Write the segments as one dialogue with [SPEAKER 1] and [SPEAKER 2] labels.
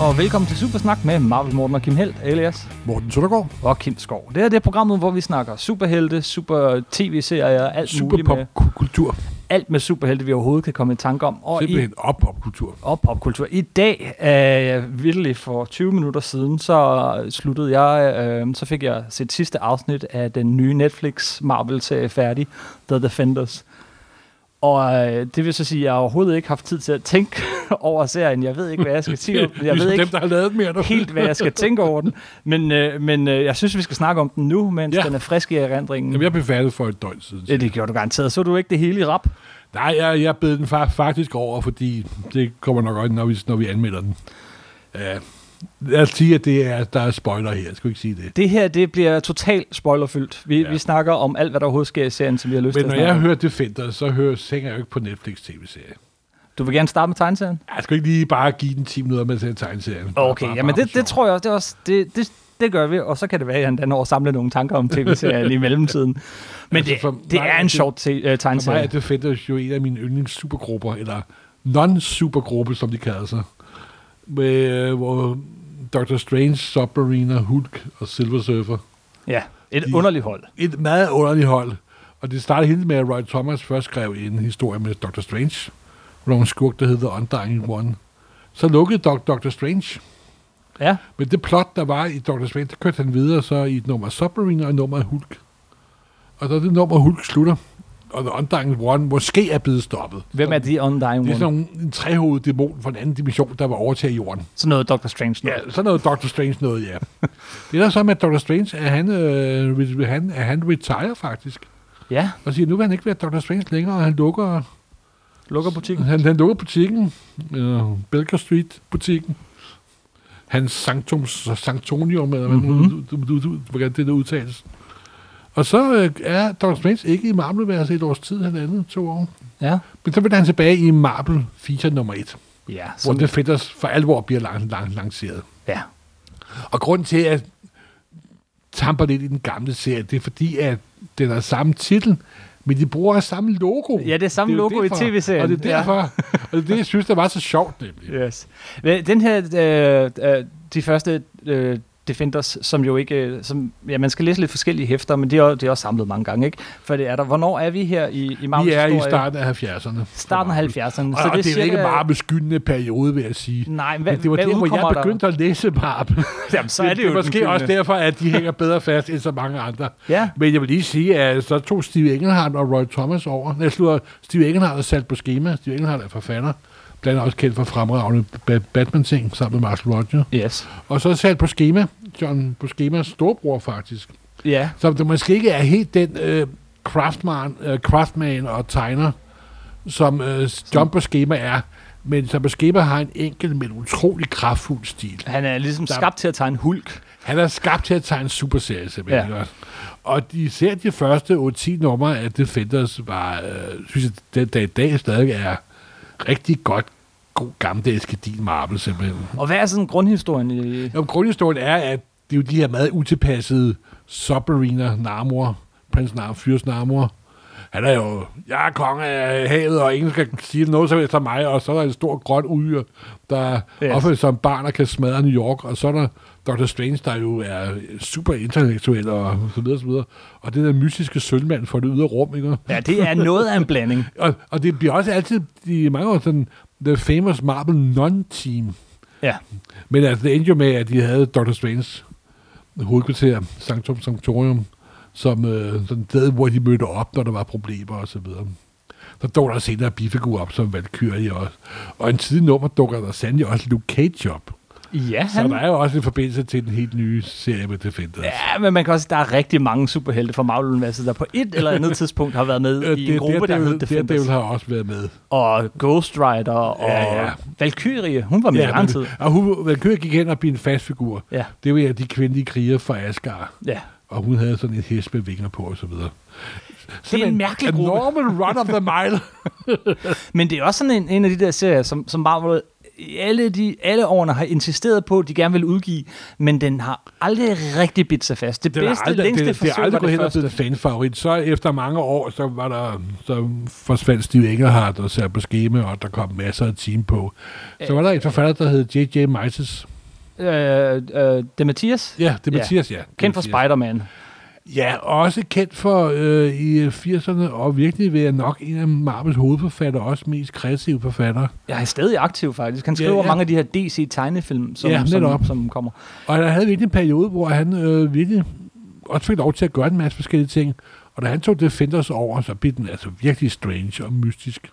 [SPEAKER 1] og velkommen til Supersnak med Marvel Morten og Kim Helt, alias
[SPEAKER 2] Morten Søndergaard.
[SPEAKER 1] og Kim Skov. Det her det er programmet, hvor vi snakker superhelte, super tv-serier, alt muligt med,
[SPEAKER 2] Superpopkultur.
[SPEAKER 1] alt med superhelte, vi overhovedet kan komme i tanke om. Og i,
[SPEAKER 2] Simpelthen oppopkultur.
[SPEAKER 1] og popkultur. I dag, øh, virkelig for 20 minutter siden, så sluttede jeg, øh, så fik jeg set sidste afsnit af den nye Netflix Marvel-serie færdig, The Defenders. Og øh, det vil så sige, at jeg har overhovedet ikke haft tid til at tænke over serien. Jeg ved ikke, hvad jeg skal sige om den. Jeg ved
[SPEAKER 2] ligesom
[SPEAKER 1] ikke
[SPEAKER 2] dem, der har lavet mere.
[SPEAKER 1] helt, hvad jeg skal tænke over den. Men, øh, men øh, jeg synes, vi skal snakke om den nu, mens ja.
[SPEAKER 2] Ja.
[SPEAKER 1] den er frisk i erindringen.
[SPEAKER 2] Jamen, jeg blev færdig for et døgn siden.
[SPEAKER 1] Ja, det gjorde du garanteret. Så du ikke det hele i rap?
[SPEAKER 2] Nej, jeg, jeg bed den fa- faktisk over, fordi det kommer nok også, når vi, når vi anmelder den. Ja. Lad os sige, at det er, der er spoiler her. Jeg skulle ikke sige det.
[SPEAKER 1] Det her, det bliver totalt spoilerfyldt. Vi, ja.
[SPEAKER 2] Ja.
[SPEAKER 1] vi snakker om alt, hvad der overhovedet sker i serien, som vi har lyst til at
[SPEAKER 2] Men når
[SPEAKER 1] snakke
[SPEAKER 2] jeg
[SPEAKER 1] om.
[SPEAKER 2] hører Defender, så hører, tænker jeg jo ikke på Netflix tv-serie.
[SPEAKER 1] Du vil gerne starte med tegneserien?
[SPEAKER 2] Jeg skal ikke lige bare give den 10 minutter med at se tegneserien. Bare-
[SPEAKER 1] Okay,
[SPEAKER 2] bare-
[SPEAKER 1] jamen
[SPEAKER 2] bare
[SPEAKER 1] det,
[SPEAKER 2] for
[SPEAKER 1] det
[SPEAKER 2] sjov.
[SPEAKER 1] tror jeg også, det, er også det, det, det gør vi, og så kan det være, at jeg endda når at samle nogle tanker om tv-serien i mellemtiden. Men
[SPEAKER 2] Altså,
[SPEAKER 1] det,
[SPEAKER 2] for
[SPEAKER 1] det
[SPEAKER 2] mig
[SPEAKER 1] er
[SPEAKER 2] er
[SPEAKER 1] en
[SPEAKER 2] det-
[SPEAKER 1] sjov te- øh,
[SPEAKER 2] For mig er
[SPEAKER 1] tegneserie.
[SPEAKER 2] Defenders jo en af mine yndlingssupergrupper, eller non-supergruppe, som de kalder sig. Med, øh, hvor Doctor Strange, Submariner, Hulk og Silver Surfer.
[SPEAKER 1] Ja, et
[SPEAKER 2] I-
[SPEAKER 1] underligt hold.
[SPEAKER 2] Et meget underligt hold. Og det startede helt med, at Roy Thomas først skrev en historie med Doctor Strange. Hvor en skurk, der hed The Undying One. Så lukkede Doc Doctor Strange.
[SPEAKER 1] Ja,
[SPEAKER 2] Men det plot, der var i Doctor Strange, der kørte han videre så i et nummer af Submariner og et nummer af Hulk. Og da det nummer af Hulk slutter, og The Undying One måske er blevet stoppet.
[SPEAKER 1] hvem er de Undying
[SPEAKER 2] Det er
[SPEAKER 1] One?
[SPEAKER 2] sådan nogle, en trehovedet dæmon fra en anden dimension, der var overtaget jorden.
[SPEAKER 1] Sådan noget Doctor Strange noget.
[SPEAKER 2] Ja, sådan noget Doctor Strange noget, ja. det er der så med at Doctor Strange, at han, øh, re- han, at han retire faktisk.
[SPEAKER 1] Ja,
[SPEAKER 2] Og siger, nu vil han ikke være Doctor Strange længere, og han lukker,
[SPEAKER 1] lukker butikken.
[SPEAKER 2] han, han lukker butikken, øh, Belker Street butikken. Hans Sanctum, Sanctonium, eller mm-hmm. du, du, du, du, hvordan det der udtales. Og så øh, er Doctor Strange ikke i Marvel-værelset et års tid, halvandet, to år.
[SPEAKER 1] Ja,
[SPEAKER 2] Men så vender han tilbage i Marvel feature nummer et.
[SPEAKER 1] ja,
[SPEAKER 2] hvor
[SPEAKER 1] sådan,
[SPEAKER 2] det Defenders for alvor bliver lang, lang, lanceret.
[SPEAKER 1] ja.
[SPEAKER 2] Og grunden til, at tamper lidt i den gamle serie, det er fordi, at den har samme titel, men de bruger samme logo.
[SPEAKER 1] Ja, det er samme
[SPEAKER 2] jo
[SPEAKER 1] logo i
[SPEAKER 2] derfor.
[SPEAKER 1] TV-serien,
[SPEAKER 2] Og det
[SPEAKER 1] ja.
[SPEAKER 2] er derfor, og det er det, jeg synes, der var så sjovt, nemlig. Ja.
[SPEAKER 1] Yes. Men Den her, øh, øh, de første øh, Defenders, som jo ikke, øh, som, ja, man skal læse lidt forskellige hæfter, men det er, også- det er også samlet mange gange, ikke? For det er der, hvornår er vi her i, i Marvels
[SPEAKER 2] Vi er i
[SPEAKER 1] historie?
[SPEAKER 2] starten af 70'erne.
[SPEAKER 1] Starten af 70'erne.
[SPEAKER 2] Og, så det, og det er jo
[SPEAKER 1] cirka-
[SPEAKER 2] ikke bare beskyldende periode, vil jeg sige.
[SPEAKER 1] Nej, hvad,
[SPEAKER 2] Men det var
[SPEAKER 1] hvad
[SPEAKER 2] der, hvor jeg
[SPEAKER 1] udkommer
[SPEAKER 2] begyndte at læse Marvel.
[SPEAKER 1] Der? Jamen, så er det, jo
[SPEAKER 2] det er måske
[SPEAKER 1] den
[SPEAKER 2] også
[SPEAKER 1] gyldne.
[SPEAKER 2] derfor, at de hænger bedre fast end så mange andre.
[SPEAKER 1] Ja.
[SPEAKER 2] Men jeg vil lige sige, at så tog Steve Engelhardt og Roy Thomas over. Jeg slutter Steve Engelhardt er sat på schema. Steve Engelhardt er forfatter. Blandt andet også kendt for fremragende Ba- Batman-ting sammen med Marshall Roger.
[SPEAKER 1] Yes.
[SPEAKER 2] Og så sat på schema. John på schemas storbror, faktisk.
[SPEAKER 1] Ja,
[SPEAKER 2] Så det måske ikke er helt den øh, craftman, øh, craftman og tegner, som øh, John på schema er. Men som på schema har en enkel, men utrolig kraftfuld stil.
[SPEAKER 1] han er ligesom
[SPEAKER 2] Der-
[SPEAKER 1] skabt til at tegne en hulk.
[SPEAKER 2] Han er skabt til at tegne superserie, simpelthen.
[SPEAKER 1] Ja.
[SPEAKER 2] Ja. Og de ser de første 8-10 numre af Defenders var, øh, synes jeg, den dag i dag stadig er rigtig godt, god gammeldags gedin Marvel, simpelthen.
[SPEAKER 1] Og hvad er sådan grundhistorien i...
[SPEAKER 2] Jamen, grundhistorien er, at det er jo de her meget utilpassede submariner, Namor, prins Namor, fyrs Namor. Han er jo, jeg er konge af havet, og ingen skal sige noget som helst om mig, og så er der en stor grøn udyr, der
[SPEAKER 1] Yes.
[SPEAKER 2] yes. opfører sig som barn og kan smadre New York, og så er der Dr. Strange, der jo er super intellektuel og så videre, så videre. Og det der mystiske sølvmand for det ydre rum, ikke?
[SPEAKER 1] Ja, det er noget af en blanding.
[SPEAKER 2] Og, og det bliver også altid i mange år sådan, the famous Marvel non-team.
[SPEAKER 1] Ja,
[SPEAKER 2] Men altså, det endte jo med, at de havde Dr. Strange hovedkvarter, Sanctum Sanctorium, som øh, sådan et sted, hvor de mødte op, når der var problemer og så videre. Så dukker der senere bifigur op som Valkyrie også. Og en tidlig nummer dukker der sandelig også Luke Cage op.
[SPEAKER 1] ja
[SPEAKER 2] Så
[SPEAKER 1] han...
[SPEAKER 2] der er jo også en forbindelse til den helt nye serie med Defenders.
[SPEAKER 1] Ja, men man kan også der er rigtig mange superhelte fra Marvel-universet, der på et eller andet tidspunkt har været med
[SPEAKER 2] Øh,
[SPEAKER 1] i en gruppe, der hedder
[SPEAKER 2] det,
[SPEAKER 1] Defenders.
[SPEAKER 2] det, har også været med.
[SPEAKER 1] og Ghost Rider og ja,
[SPEAKER 2] Ja,
[SPEAKER 1] ja.
[SPEAKER 2] ja.
[SPEAKER 1] Valkyrie. Hun var med ja, i lang
[SPEAKER 2] men-
[SPEAKER 1] tid.
[SPEAKER 2] og hun, Valkyrie gik hen og blev en fast figur.
[SPEAKER 1] Ja,
[SPEAKER 2] Det var ja de kvindelige kriger fra Asgard.
[SPEAKER 1] ja.
[SPEAKER 2] og hun havde sådan en hest med vinger på og så videre.
[SPEAKER 1] Det er en mærkelig
[SPEAKER 2] a
[SPEAKER 1] gruppe.
[SPEAKER 2] normal run of the mile.
[SPEAKER 1] Men det er også sådan en, en af de der serier, som, som Marvel i alle, de, alle årene har insisteret på, at de gerne vil udgive, men den har aldrig rigtig bidt sig fast. Det, det
[SPEAKER 2] er
[SPEAKER 1] bedste, aldrig, længste
[SPEAKER 2] det, det er
[SPEAKER 1] forsøg
[SPEAKER 2] aldrig
[SPEAKER 1] var
[SPEAKER 2] gået
[SPEAKER 1] det
[SPEAKER 2] hen og
[SPEAKER 1] første.
[SPEAKER 2] blevet fanfavorit. Så efter mange år, så var der så forsvandt Steve Øh, Engelhardt og satte på skema, og der kom masser af team på. Så var der en forfatter, der hed J.J. Meises,
[SPEAKER 1] Øh, øh, det er Mathias,
[SPEAKER 2] Ja, det er
[SPEAKER 1] Ja.
[SPEAKER 2] Mathias, ja.
[SPEAKER 1] kendt for
[SPEAKER 2] Mathias.
[SPEAKER 1] Spider-Man.
[SPEAKER 2] Ja, også kendt for øh, i 80'erne, og virkelig vil jeg nok en af Marvels hovedforfatter, også mest kreative forfatter.
[SPEAKER 1] Jeg er stadig aktiv faktisk. Han
[SPEAKER 2] Ja,
[SPEAKER 1] skriver
[SPEAKER 2] ja.
[SPEAKER 1] mange af de her DC-tegnefilm, som,
[SPEAKER 2] Ja, netop.
[SPEAKER 1] som, som kommer.
[SPEAKER 2] Og der havde virkelig en periode, hvor han øh, virkelig også fik lov til at gøre en masse forskellige ting. Og da han tog Defenders over, så blev den altså virkelig strange og mystisk.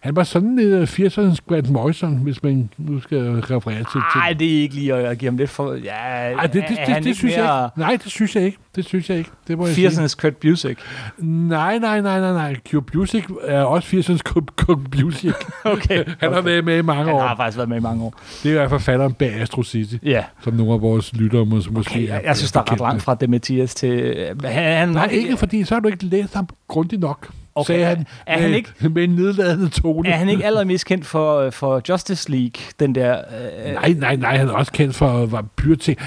[SPEAKER 2] Han var sådan lidt øh, 80'ernes Grant Morrison, hvis man nu skal referere til. til-
[SPEAKER 1] Nej, det er ikke lige at give ham lidt for... Ja,
[SPEAKER 2] Ej, det, det, det, det, det synes jeg ikke. Nej, det synes jeg ikke. Det synes jeg ikke. Det må jeg sige.
[SPEAKER 1] 80'ernes Kurt Busiek.
[SPEAKER 2] Nej, nej, nej, nej, nej. Cube Music er også 80'ernes Cube, Cube Music.
[SPEAKER 1] Okay.
[SPEAKER 2] Han har været med i mange
[SPEAKER 1] Han
[SPEAKER 2] år.
[SPEAKER 1] har faktisk været med i mange år.
[SPEAKER 2] Det er jo forfatteren bag Astro City,
[SPEAKER 1] Ja.
[SPEAKER 2] som nogle af vores lyttere mås- måske
[SPEAKER 1] Okay, jeg, jeg synes, der er ret
[SPEAKER 2] bekendt med.
[SPEAKER 1] langt fra det Mathias til... Han, han,
[SPEAKER 2] Nej, ikke fordi, så har du ikke læst ham grundigt nok,
[SPEAKER 1] Okay,
[SPEAKER 2] okay. sagde han,
[SPEAKER 1] er han
[SPEAKER 2] med,
[SPEAKER 1] ikke-
[SPEAKER 2] med en nedladende tone.
[SPEAKER 1] Er han ikke allermest kendt for, øh, for Justice League, den der... Øh,
[SPEAKER 2] Nej, nej, nej, han er også kendt for vampyrting,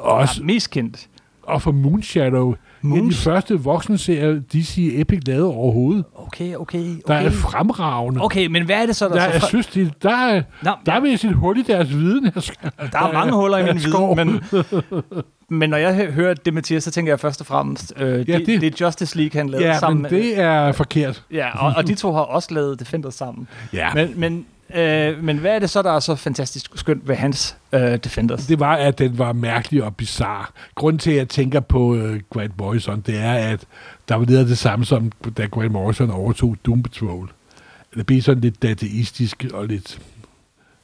[SPEAKER 2] også,
[SPEAKER 1] er mest kendt? Og
[SPEAKER 2] og for Moonshadow. Moon... En af de
[SPEAKER 1] Moons-
[SPEAKER 2] første voksenserier, DC Epic lavede overhovedet,
[SPEAKER 1] Okay, okay,
[SPEAKER 2] der okay. er
[SPEAKER 1] okay.
[SPEAKER 2] fremragende.
[SPEAKER 1] Okay, men hvad er det så, der...
[SPEAKER 2] Der,
[SPEAKER 1] så
[SPEAKER 2] jeg synes, de, der, er,
[SPEAKER 1] Nå,
[SPEAKER 2] der er ved sit hul i deres viden. Jeg skal-
[SPEAKER 1] Der er mange huller i min
[SPEAKER 2] skov.
[SPEAKER 1] viden, men, men når jeg hø- hører det, Mathias, så tænker jeg først og fremmest, øh, det, det,
[SPEAKER 2] det-
[SPEAKER 1] det er Justice League, han lavede
[SPEAKER 2] Ja,
[SPEAKER 1] sammen
[SPEAKER 2] men det er forkert.
[SPEAKER 1] Ja, og, og de to har også lavet Defenders sammen.
[SPEAKER 2] Ja. Men...
[SPEAKER 1] Men, men, øh, men hvad er det så, der er så fantastisk skønt ved hans øh, Defenders?
[SPEAKER 2] Det var, at den var mærkelig og bizarre. Grunden til, at jeg tænker på uh, Grant Morrison, det er, at der var lidt af det samme som, da Grant Morrison overtog Doom Patrol. Det blev sådan lidt dataistisk og lidt,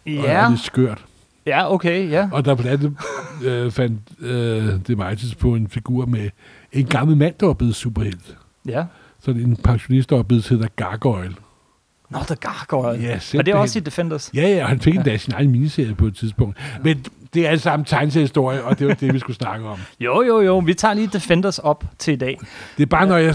[SPEAKER 2] og,
[SPEAKER 1] ja,
[SPEAKER 2] og lidt skørt.
[SPEAKER 1] ja, okay, ja.
[SPEAKER 2] Og der blandt andet øh, fandt øh, det Mightis på en figur med en gammel mand, der var blevet superhelt.
[SPEAKER 1] ja.
[SPEAKER 2] Sådan en pensionist, der var blevet til der Gargoyle.
[SPEAKER 1] Nå, der gargoyle.
[SPEAKER 2] Ja,
[SPEAKER 1] og det er
[SPEAKER 2] simpelthen.
[SPEAKER 1] også i Defenders.
[SPEAKER 2] Ja, ja, og han fik endda sin egen miniserie på et tidspunkt. Men det er alt sammen tegneseriehistorie, og det var det, vi skulle snakke om.
[SPEAKER 1] Jo, jo, jo. Vi tager lige Defenders op til i dag.
[SPEAKER 2] Det er bare, når jeg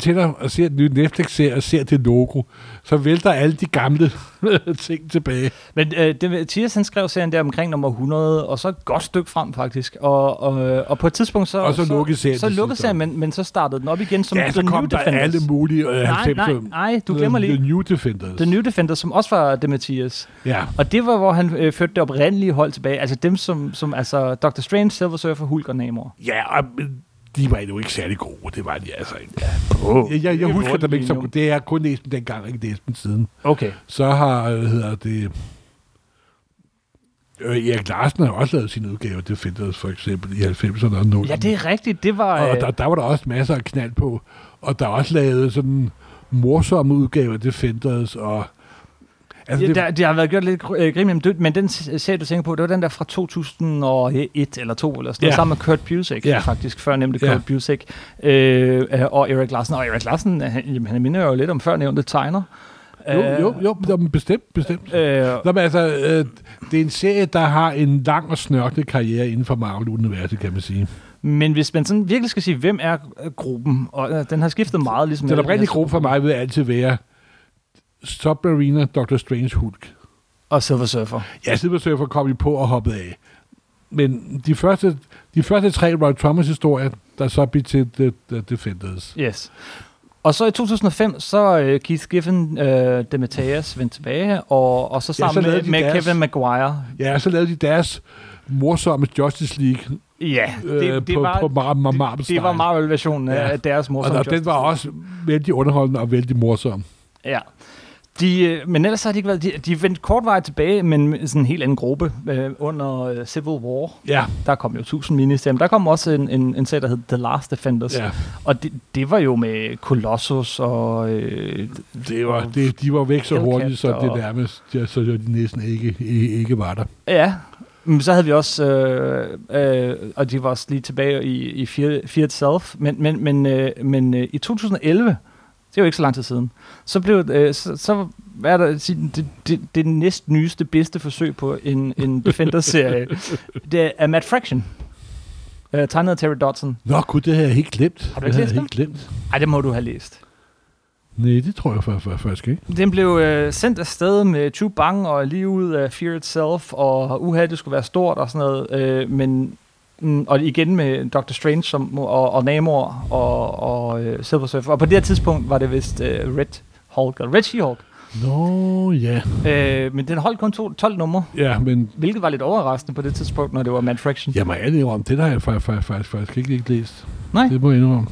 [SPEAKER 2] tænder og ser den nye Netflix-serie og ser det logo, så vælter alle de gamle ting tilbage.
[SPEAKER 1] Men øh, det, Mathias, han skrev serien der omkring nummer 100, og så et godt stykke frem faktisk. Og, og, og på et tidspunkt så...
[SPEAKER 2] Og så lukkede serien
[SPEAKER 1] Så
[SPEAKER 2] til
[SPEAKER 1] lukkede
[SPEAKER 2] sidst,
[SPEAKER 1] serien, men, men så startede den op igen som
[SPEAKER 2] ja, så
[SPEAKER 1] The
[SPEAKER 2] kom
[SPEAKER 1] New
[SPEAKER 2] der
[SPEAKER 1] Defenders.
[SPEAKER 2] alle mulige øh,
[SPEAKER 1] nej,
[SPEAKER 2] 90'er.
[SPEAKER 1] nej, nej, du glemmer lige.
[SPEAKER 2] The New Defenders.
[SPEAKER 1] The New Defenders, som også var det Mathias.
[SPEAKER 2] Ja,
[SPEAKER 1] Og det var, hvor han øh, førte det oprindelige hold tilbage. Altså dem, som, som altså Dr. Strange, Silver Surfer, Hulk og Namor.
[SPEAKER 2] ja og, men de var jo ikke særlig gode. Det var de altså ikke.
[SPEAKER 1] Oh,
[SPEAKER 2] Jeg, jeg, jeg husker dem ikke så
[SPEAKER 1] godt.
[SPEAKER 2] godt. Det er kun læst dem dengang, og ikke læst dem siden.
[SPEAKER 1] Okay.
[SPEAKER 2] Så har, øh, hedder det... Øh, Erik Larsen har også lavet sin udgave af Defenders, for eksempel, i 90'erne og 0'erne.
[SPEAKER 1] Ja, det er rigtigt. Det var...
[SPEAKER 2] Og
[SPEAKER 1] Øh,
[SPEAKER 2] der, der var der også masser af knald på. Og der er også lavet sådan morsomme udgaver af Defenders. Og, altså,
[SPEAKER 1] Ja,
[SPEAKER 2] det,
[SPEAKER 1] der, det har været gjort lidt gr- øh, grin med dem dødt, men den s- serie, du tænker på, det var den der fra 2001 eller 2 eller sådan noget,
[SPEAKER 2] Ja.
[SPEAKER 1] sammen med Kurt Busiek,
[SPEAKER 2] Ja.
[SPEAKER 1] faktisk, før nemlig
[SPEAKER 2] Ja.
[SPEAKER 1] Kurt Busiek, øh, øh, og Erik Larsen. Og Erik Larsen, øh, han, jamen, han minder jo lidt om førnævnte tegner.
[SPEAKER 2] jo, jo, jo, jamen, bestemt, bestemt.
[SPEAKER 1] Øh,
[SPEAKER 2] Øh, Nå, men altså, øh, det er en serie, der har en lang og snørklet karriere inden for Marvel-universet, kan man sige.
[SPEAKER 1] men hvis man sådan virkelig skal sige, hvem er øh, gruppen, og øh, den har skiftet meget, ligesom...
[SPEAKER 2] Den
[SPEAKER 1] alle de
[SPEAKER 2] oprindelige
[SPEAKER 1] her-
[SPEAKER 2] gruppe for mig vil altid være Submariner, Dr. Strange, Hulk.
[SPEAKER 1] Og Silver Surfer.
[SPEAKER 2] Ja, Silver Surfer kom vi på og hoppede af. Men de første, de første tre Roy Thomas-historier, der så blev til The, The Defenders.
[SPEAKER 1] Yes. Og så i 2005, så øh, Keith Giffen, øh, Demetrius vendte tilbage, og, og så
[SPEAKER 2] Ja, så
[SPEAKER 1] sammen ja,
[SPEAKER 2] lavede
[SPEAKER 1] så
[SPEAKER 2] de
[SPEAKER 1] med, med
[SPEAKER 2] deres-
[SPEAKER 1] Kevin Maguire.
[SPEAKER 2] Ja, så lavede de deres morsomme Justice League
[SPEAKER 1] Ja,
[SPEAKER 2] øh, det, det på, var, på Mar- Mar- Marvel
[SPEAKER 1] Det var
[SPEAKER 2] Style.
[SPEAKER 1] Marvel-versionen af
[SPEAKER 2] Ja.
[SPEAKER 1] deres
[SPEAKER 2] Og
[SPEAKER 1] morsomme
[SPEAKER 2] der,
[SPEAKER 1] Justice
[SPEAKER 2] den var også vældig underholdende og vældig morsom.
[SPEAKER 1] Ja. De, øh, men ellers har de ikke været... De, de vendte kort vej tilbage, men med sådan en helt anden gruppe øh, under øh, Civil War.
[SPEAKER 2] Ja,
[SPEAKER 1] Der kom jo 1000 miniserier, men der kom også en, en, en serie, der hed The Last Defenders.
[SPEAKER 2] ja.
[SPEAKER 1] Og det, det var jo med Colossus og... Øh,
[SPEAKER 2] Det var, det, de var væk så
[SPEAKER 1] Hellcat
[SPEAKER 2] hurtigt, så det
[SPEAKER 1] og-
[SPEAKER 2] nærmest, ja, så de næsten ikke, ikke, ikke var der.
[SPEAKER 1] ja, men så havde vi også... Øh, øh, og de var også lige tilbage i, i Fear, Fear Itself. Men, men, men, øh, men øh, i 2011, det er jo ikke så lang tid siden, så blev... Øh, så, så hvad er der, at sige, det, det, det næst nyeste, bedste forsøg på en, en Defender-serie, det er Matt Fraction. Øh, tegnet af Terry Dodson.
[SPEAKER 2] Nå gud, det havde jeg helt glemt.
[SPEAKER 1] Har du
[SPEAKER 2] det
[SPEAKER 1] ikke
[SPEAKER 2] havde
[SPEAKER 1] læst
[SPEAKER 2] jeg helt glemt.
[SPEAKER 1] Ej, det må du have læst.
[SPEAKER 2] Nej, det tror jeg for, for, først ikke.
[SPEAKER 1] Den blev øh, sendt afsted med Chu Bang og lige ud af Fear Itself, og uha, det skulle være stort og sådan noget, øh, men mm, og igen med Dr. Strange som, og, og Namor og, og øh, Silver Surfer. Og på det her tidspunkt var det vist øh, Red Hulk, eller Red She-Hulk.
[SPEAKER 2] Nå, ja.
[SPEAKER 1] Øh, men den holdt kun to, 12 numre,
[SPEAKER 2] Ja, men
[SPEAKER 1] hvilket var lidt overraskende på det tidspunkt, når det var Mad Fraction.
[SPEAKER 2] jeg må ærligt indrømme, det der har jeg faktisk, faktisk, faktisk, faktisk ikke, ikke læst.
[SPEAKER 1] Nej.
[SPEAKER 2] Det må jeg indrømme.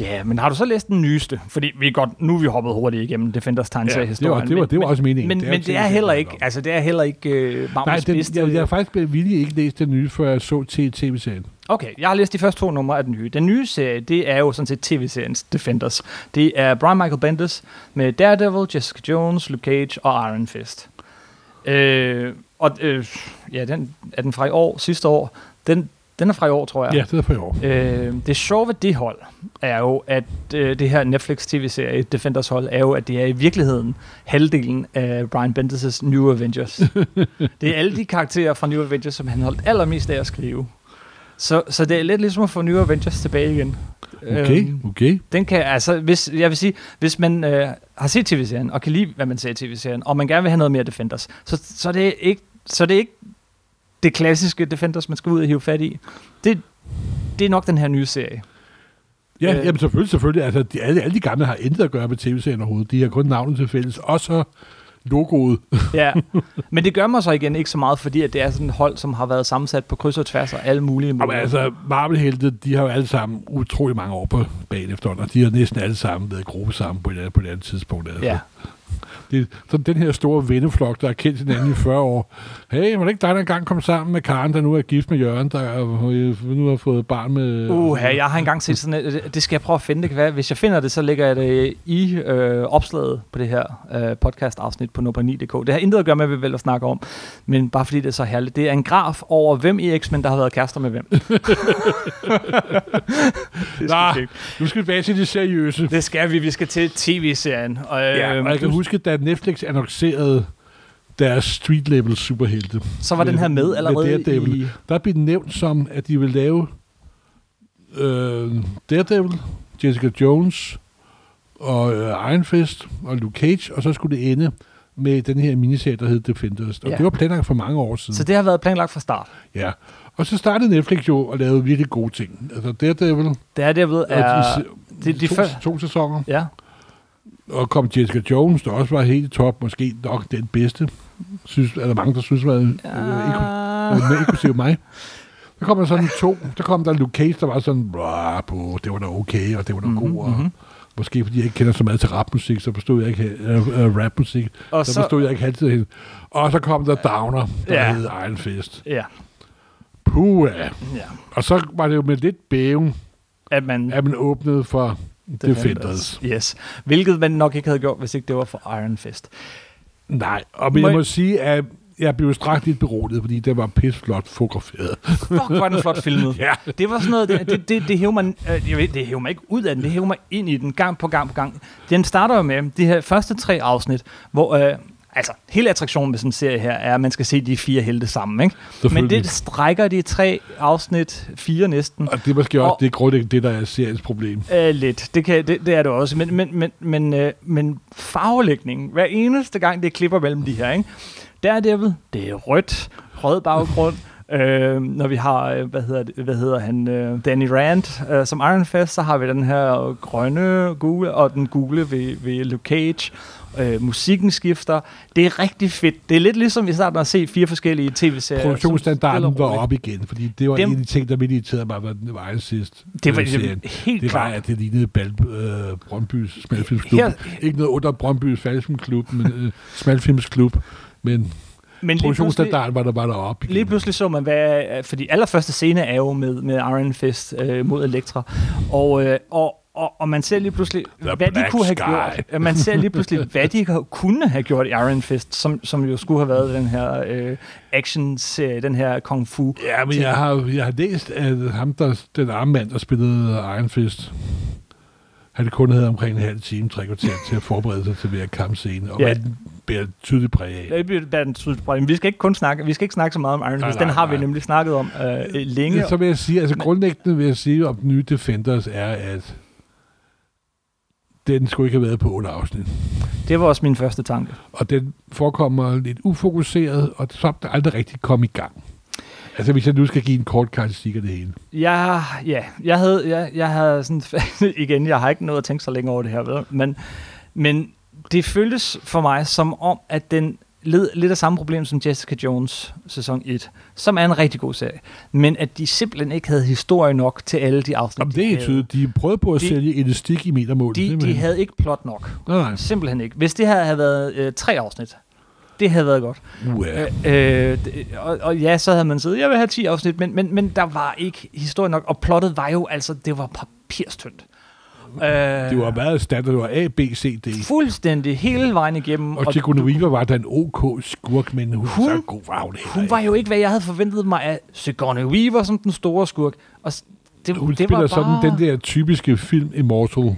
[SPEAKER 1] Ja, men har du så læst den nyeste? Fordi vi er godt, nu er vi hoppet hurtigt igennem Defenders
[SPEAKER 2] Ja, det, var,
[SPEAKER 1] tegneseriehistorien.
[SPEAKER 2] det, var, det var
[SPEAKER 1] men,
[SPEAKER 2] også meningen.
[SPEAKER 1] men, men, men
[SPEAKER 2] jo
[SPEAKER 1] det er
[SPEAKER 2] ting,
[SPEAKER 1] heller
[SPEAKER 2] jeg
[SPEAKER 1] ikke,
[SPEAKER 2] snakker om.
[SPEAKER 1] altså det er heller ikke øh,
[SPEAKER 2] Nej,
[SPEAKER 1] Magnus'
[SPEAKER 2] den,
[SPEAKER 1] bedste.
[SPEAKER 2] jeg, jeg har faktisk blevet villig ikke læst den nye, før jeg så til tv-serien.
[SPEAKER 1] Okay, jeg har læst de første to numre af den nye. Den nye serie, det er jo sådan set tv-seriens Defenders. Det er Brian Michael Bendis med Daredevil, Jessica Jones, Luke Cage og Iron Fist. Øh, og øh, ja, den, er den fra i år, sidste år? Den, den er fra i år, tror jeg.
[SPEAKER 2] Ja, det er for i år.
[SPEAKER 1] Øh, det sjove ved det hold er jo, at øh, det her Netflix tv-serie, Defenders hold, er jo, at det er i virkeligheden halvdelen af Brian Bendis' New Avengers. det er alle de karakterer fra New Avengers, som han holdt allermest af at skrive. Så, så det er lidt ligesom at få New Avengers tilbage igen.
[SPEAKER 2] Okay,
[SPEAKER 1] Øhm,
[SPEAKER 2] okay.
[SPEAKER 1] den kan, altså, hvis, jeg vil sige, hvis man øh, har set tv-serien, og kan lide, hvad man ser i tv-serien, og man gerne vil have noget mere Defenders, så, så, er det er ikke, så er det er ikke det klassiske Defenders, man skal ud og hive fat i. Det, det er nok den her nye serie.
[SPEAKER 2] Ja,
[SPEAKER 1] Øh.
[SPEAKER 2] øh, jamen selvfølgelig, selvfølgelig. Altså, de, alle, alle de gamle har intet at gøre med tv-serien overhovedet. De har kun navnet til fælles, og så logoet.
[SPEAKER 1] Ja. Men det gør mig så igen ikke så meget, fordi at det er sådan et hold, som har været sammensat på kryds og tværs og alle mulige
[SPEAKER 2] Jamen,
[SPEAKER 1] måder.
[SPEAKER 2] altså, Marvel-helte, de har jo alle sammen utrolig mange år på banen efterhånden, og de har næsten alle sammen været i gruppe sammen på et, andet- på et andet tidspunkt. Altså.
[SPEAKER 1] ja.
[SPEAKER 2] Det, så den her store venneflok, der har kendt hinanden i 40 år. Hey, var det ikke dig, der engang kom sammen med Karen, der nu er gift med Jørgen, der øh, nu har fået barn med...
[SPEAKER 1] Uha, jeg har engang set sådan et, det skal jeg prøve at finde, det kan være, hvis jeg finder det, så lægger jeg det i øh, opslaget på det her øh, podcast-afsnit på nopani.dk. Det har intet at gøre med, hvad vi vælger at snakke om, men bare fordi det er så herligt. Det er en graf over, hvem i X-Men, der har været kærester med hvem. det, skal
[SPEAKER 2] Nå.
[SPEAKER 1] vi ikke.
[SPEAKER 2] Nu skal vi tilbage til det seriøse.
[SPEAKER 1] det skal vi, vi skal til tv-serien. Og, øh,
[SPEAKER 2] Ja, og jeg kan
[SPEAKER 1] du-
[SPEAKER 2] huske, da Netflix annoncerede deres street level superhelte.
[SPEAKER 1] så var den her med allerede
[SPEAKER 2] Daredevil.
[SPEAKER 1] i...
[SPEAKER 2] Der blev den nævnt som, at de ville lave øh, Daredevil, Jessica Jones og øh, Iron Fist og Luke Cage, og så skulle det ende med den her miniserie, der hed Defenders. Og
[SPEAKER 1] Ja.
[SPEAKER 2] ja. det var planlagt for mange år siden.
[SPEAKER 1] Så det har været planlagt fra start.
[SPEAKER 2] Ja. Og så startede Netflix jo og lavede virkelig gode ting. Altså Daredevil,
[SPEAKER 1] Det er det, jeg ved,
[SPEAKER 2] og de,
[SPEAKER 1] er...
[SPEAKER 2] se-
[SPEAKER 1] det- de
[SPEAKER 2] to,
[SPEAKER 1] før-
[SPEAKER 2] to sæsoner,
[SPEAKER 1] Ja,
[SPEAKER 2] og kom Jessica Jones, der også var helt i top, måske nok den bedste. Synes, er der mange, der synes, var ja. ikke
[SPEAKER 1] ja.
[SPEAKER 2] Øh, med inklusive mig. Der kom der sådan to. Der kom der Luke Cage, der var sådan, "Bra, på, det var da okay, og det var da mm-hmm. god. Og
[SPEAKER 1] mhm.
[SPEAKER 2] Måske fordi jeg ikke kender så meget til rapmusik, så forstod jeg ikke øh, øh, rapmusik.
[SPEAKER 1] Og
[SPEAKER 2] så,
[SPEAKER 1] så-
[SPEAKER 2] så forstod jeg ikke altid hende. Og så kom der Downer, der
[SPEAKER 1] Ja.
[SPEAKER 2] ja. hed Iron Fist.
[SPEAKER 1] Ja,
[SPEAKER 2] Puh,
[SPEAKER 1] ja.
[SPEAKER 2] Og så var det jo med lidt bæven,
[SPEAKER 1] At man...
[SPEAKER 2] at man åbnede for Defenders.
[SPEAKER 1] Yes. Hvilket man nok ikke havde gjort, hvis ikke det var for Iron Fist.
[SPEAKER 2] Nej, og men jeg
[SPEAKER 1] Må-
[SPEAKER 2] må sige, at jeg blev straks lidt beroliget, fordi det var pisseflot fotograferet.
[SPEAKER 1] Fuck, hvor er den flot filmet.
[SPEAKER 2] Ja.
[SPEAKER 1] Det var sådan noget, det, det, det, det hæver man, øh, jeg ved, det hæver mig ikke ud af den, det hæver mig ind i den, gang på gang på gang. Den starter jo med de her første tre afsnit, hvor, øh, altså, hele attraktionen med sådan en serie her er, at man skal se de fire helte sammen, ikke? Men
[SPEAKER 2] Selvfølgelig.
[SPEAKER 1] det strækker de tre afsnit, fire næsten,
[SPEAKER 2] Og det er måske også
[SPEAKER 1] Og-
[SPEAKER 2] det grundlæggende det, der er seriens problem.
[SPEAKER 1] Øh, lidt. Det, kan, det, det er det også. Men, men, men, men, øh, men farvelægningen, hver eneste gang, det klipper mellem de her, ikke? Daredevil, det er rødt, rød baggrund. øh, når vi har, øh, hvad hedder, det, hvad hedder han, øh, Danny Rand øh, som Iron Fist, så har vi den her grønne gule, og den gule ved, ved Luke Cage. Øh, musikken skifter. Det er rigtig fedt. Det er lidt ligesom i starten at se fire forskellige tv-serier. som stille og
[SPEAKER 2] Produktionsstandarden var
[SPEAKER 1] roligt-
[SPEAKER 2] op igen, fordi det var
[SPEAKER 1] Dem-
[SPEAKER 2] Dem, en af de ting, der midt irriterede mig, var den var sidst.
[SPEAKER 1] Det var
[SPEAKER 2] øh, serien.
[SPEAKER 1] helt
[SPEAKER 2] det var,
[SPEAKER 1] klart.
[SPEAKER 2] at det lignede Bal- øh, Brøndby's Smalfilmsklub.
[SPEAKER 1] Her-
[SPEAKER 2] Ikke noget under Brøndby's Smalfilmsklub, men, øh, Smalfilmsklub, men
[SPEAKER 1] Men lige pludselig-
[SPEAKER 2] produktionsstandarden var der bare deroppe igen.
[SPEAKER 1] Lige pludselig så man, hvad, fordi allerførste scene er jo med, med Iron Fist øh, mod Elektra, og, øh, og, og, og man ser lige pludselig,
[SPEAKER 2] The
[SPEAKER 1] hvad de
[SPEAKER 2] Black
[SPEAKER 1] kunne have
[SPEAKER 2] Sky.
[SPEAKER 1] gjort. Ja, Man ser lige pludselig, hvad de har- kunne have gjort i Iron Fist, som, som jo skulle have været den her øh, action-serie, den her kung fu.
[SPEAKER 2] Ja, men jeg har, jeg har læst, at ham, der, den arme mand, der spillede Iron Fist, han kun havde omkring en halv time, tre kvarter til at forberede sig til hver kampscene, og
[SPEAKER 1] Ja.
[SPEAKER 2] ja. den bærer tydeligt præg af.
[SPEAKER 1] Øh, Det bliver den tydelige problem. Vi skal ikke kun snakke, vi skal ikke snakke så meget om Iron
[SPEAKER 2] Nej,
[SPEAKER 1] Fist.
[SPEAKER 2] nej,
[SPEAKER 1] Den har vi
[SPEAKER 2] nej.
[SPEAKER 1] nemlig snakket om øh, længe.
[SPEAKER 2] Ja, så vil jeg sige, altså grundlæggende vil jeg sige om den nye Defenders er, at den skulle ikke have været på 8 afsnit.
[SPEAKER 1] Det var også min første tanke.
[SPEAKER 2] Og den forekommer lidt ufokuseret, og så er den aldrig rigtig kom i gang. Altså hvis jeg nu skal give en kort karakteristik af det hele.
[SPEAKER 1] Ja, ja. Jeg havde, jeg, jeg havde sådan, igen, jeg har ikke nået at tænke så længe over det her, ved, du. men, men det føltes for mig som om, at den led lidt af samme problem som Jessica Jones sæson 1, som er en rigtig god serie, men at de simpelthen ikke havde historie nok til alle de afsnit,
[SPEAKER 2] Jamen, det er
[SPEAKER 1] de
[SPEAKER 2] helt
[SPEAKER 1] havde.
[SPEAKER 2] tydeligt. De prøvede på at
[SPEAKER 1] De-
[SPEAKER 2] sælge elastik i metermål.
[SPEAKER 1] De, de
[SPEAKER 2] simpelthen.
[SPEAKER 1] havde ikke plot nok.
[SPEAKER 2] Nej, nej.
[SPEAKER 1] Simpelthen ikke. Hvis det her havde været øh, tre afsnit, det havde været godt.
[SPEAKER 2] Uha.
[SPEAKER 1] Øh, øh, d- og, og ja, så havde man siddet, jeg vil have 10 afsnit, men, men, men der var ikke historie nok, og plottet var jo, altså, det var papirstyndt. Øh,
[SPEAKER 2] Det var meget standard. Det var A, B, C, D.
[SPEAKER 1] fuldstændig hele vejen igennem.
[SPEAKER 2] Og Chico Weaver var da en OK skurk, men hun,
[SPEAKER 1] Hun-
[SPEAKER 2] hun så god var hun heller
[SPEAKER 1] hun
[SPEAKER 2] ikke.
[SPEAKER 1] var jo ikke, hvad jeg havde forventet mig af Sigourney Weaver som den store skurk. Og s- det,
[SPEAKER 2] Hun
[SPEAKER 1] det
[SPEAKER 2] spiller
[SPEAKER 1] var
[SPEAKER 2] sådan
[SPEAKER 1] bare...
[SPEAKER 2] den der typiske film Immortal.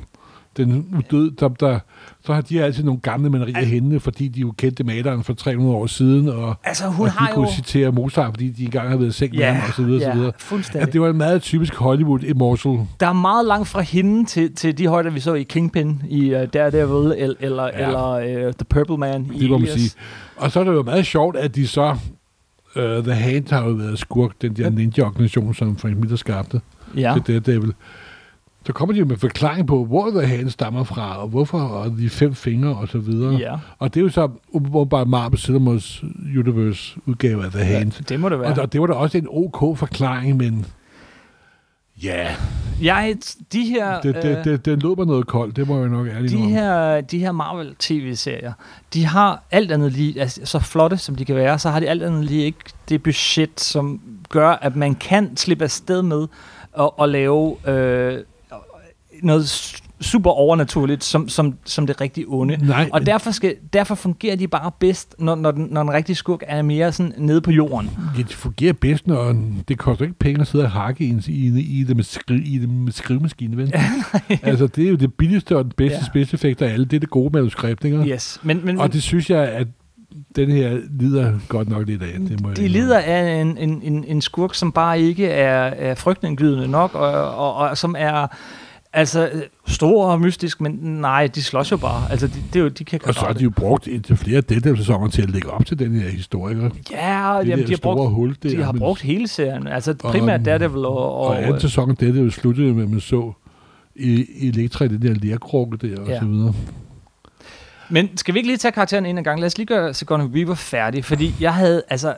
[SPEAKER 2] Den udøde, der, der, så har de altid nogle gamle malerier
[SPEAKER 1] Al-
[SPEAKER 2] hængende, fordi de jo kendte maleren for 300 år siden, og,
[SPEAKER 1] Altså, hun
[SPEAKER 2] og
[SPEAKER 1] har
[SPEAKER 2] de
[SPEAKER 1] jo...
[SPEAKER 2] kunne citere Mozart, fordi de engang har været i seng med ham, og så videre, og så
[SPEAKER 1] ja,
[SPEAKER 2] videre.
[SPEAKER 1] fuldstændig.
[SPEAKER 2] Ja, det var en meget typisk Hollywood Immortal.
[SPEAKER 1] Der er meget langt fra hende til, til de højder, vi så i Kingpin, i uh, Daredevil, el, eller, ja.
[SPEAKER 2] Ja.
[SPEAKER 1] eller uh, The Purple Man. i øh,
[SPEAKER 2] Det må man
[SPEAKER 1] Alias.
[SPEAKER 2] sige. Og så er det jo meget sjovt, at de så... Uh, The Hand har jo været skurk, den der ninja-organisation, som Frank Miller skabte
[SPEAKER 1] Ja.
[SPEAKER 2] ja. til Daredevil. Så kommer de jo med forklaring på, hvor The Hand stammer fra, og hvorfor, og de fem fingre, og så videre.
[SPEAKER 1] ja.
[SPEAKER 2] Og det er jo så åbenbart Marvel Cinemas Universe udgave af The Hand.
[SPEAKER 1] ja. Det må det være.
[SPEAKER 2] Og der, det var da også en ok forklaring, men ja,
[SPEAKER 1] Jeg, de her...
[SPEAKER 2] det,
[SPEAKER 1] øh,
[SPEAKER 2] det, det, det lød mig noget koldt, det må jeg nok ærligt
[SPEAKER 1] de
[SPEAKER 2] indrømme.
[SPEAKER 1] her, de her Marvel-tv-serier, de har alt andet lige, altså, så flotte som de kan være, så har de alt andet lige ikke det budget, som gør, at man kan slippe afsted med at, at lave øh, noget su- super overnaturligt, som, som, som det rigtig onde.
[SPEAKER 2] Nej,
[SPEAKER 1] Og derfor, skal, derfor fungerer de bare bedst, når, når, den, når en rigtig skurk er mere sådan nede på jorden.
[SPEAKER 2] Ja, det fungerer bedst, når det koster ikke penge at sidde og hakke i, en- i, i, det, med skri, i det med skrivemaskine, vel? altså, det er jo det billigste og den bedste
[SPEAKER 1] Ja.
[SPEAKER 2] ja. spidseffekt af alle. Det er det gode manuskript, ikke?
[SPEAKER 1] Yes. Men, men,
[SPEAKER 2] Og det synes jeg, at den her lider godt nok lidt af. Det må jeg
[SPEAKER 1] De
[SPEAKER 2] indrømme.
[SPEAKER 1] lider af en, en, en, en skurk, som bare ikke er, er frygtindgydende nok, og, og, og som er altså øh, stor og mystisk, men nej, de slås jo bare. Altså, de, det er jo, de kan
[SPEAKER 2] Og så har de jo brugt indtil flere Daredevil-sæsoner til at lægge op til den her historiker. Det
[SPEAKER 1] Ja,
[SPEAKER 2] der
[SPEAKER 1] jamen, de, har
[SPEAKER 2] store
[SPEAKER 1] brugt,
[SPEAKER 2] hul, det
[SPEAKER 1] de
[SPEAKER 2] er,
[SPEAKER 1] har
[SPEAKER 2] men-
[SPEAKER 1] brugt hele serien. Altså
[SPEAKER 2] Og,
[SPEAKER 1] primært
[SPEAKER 2] øhm,
[SPEAKER 1] Daredevil og... og,
[SPEAKER 2] Og anden sæson af Daredevil sluttede med, at man så i i Elektra i den der lærkrukke der, og
[SPEAKER 1] Ja.
[SPEAKER 2] så videre.
[SPEAKER 1] men skal vi ikke lige tage karakteren en gang? Lad os lige gøre Sigourney Weaver færdig, fordi jeg havde... altså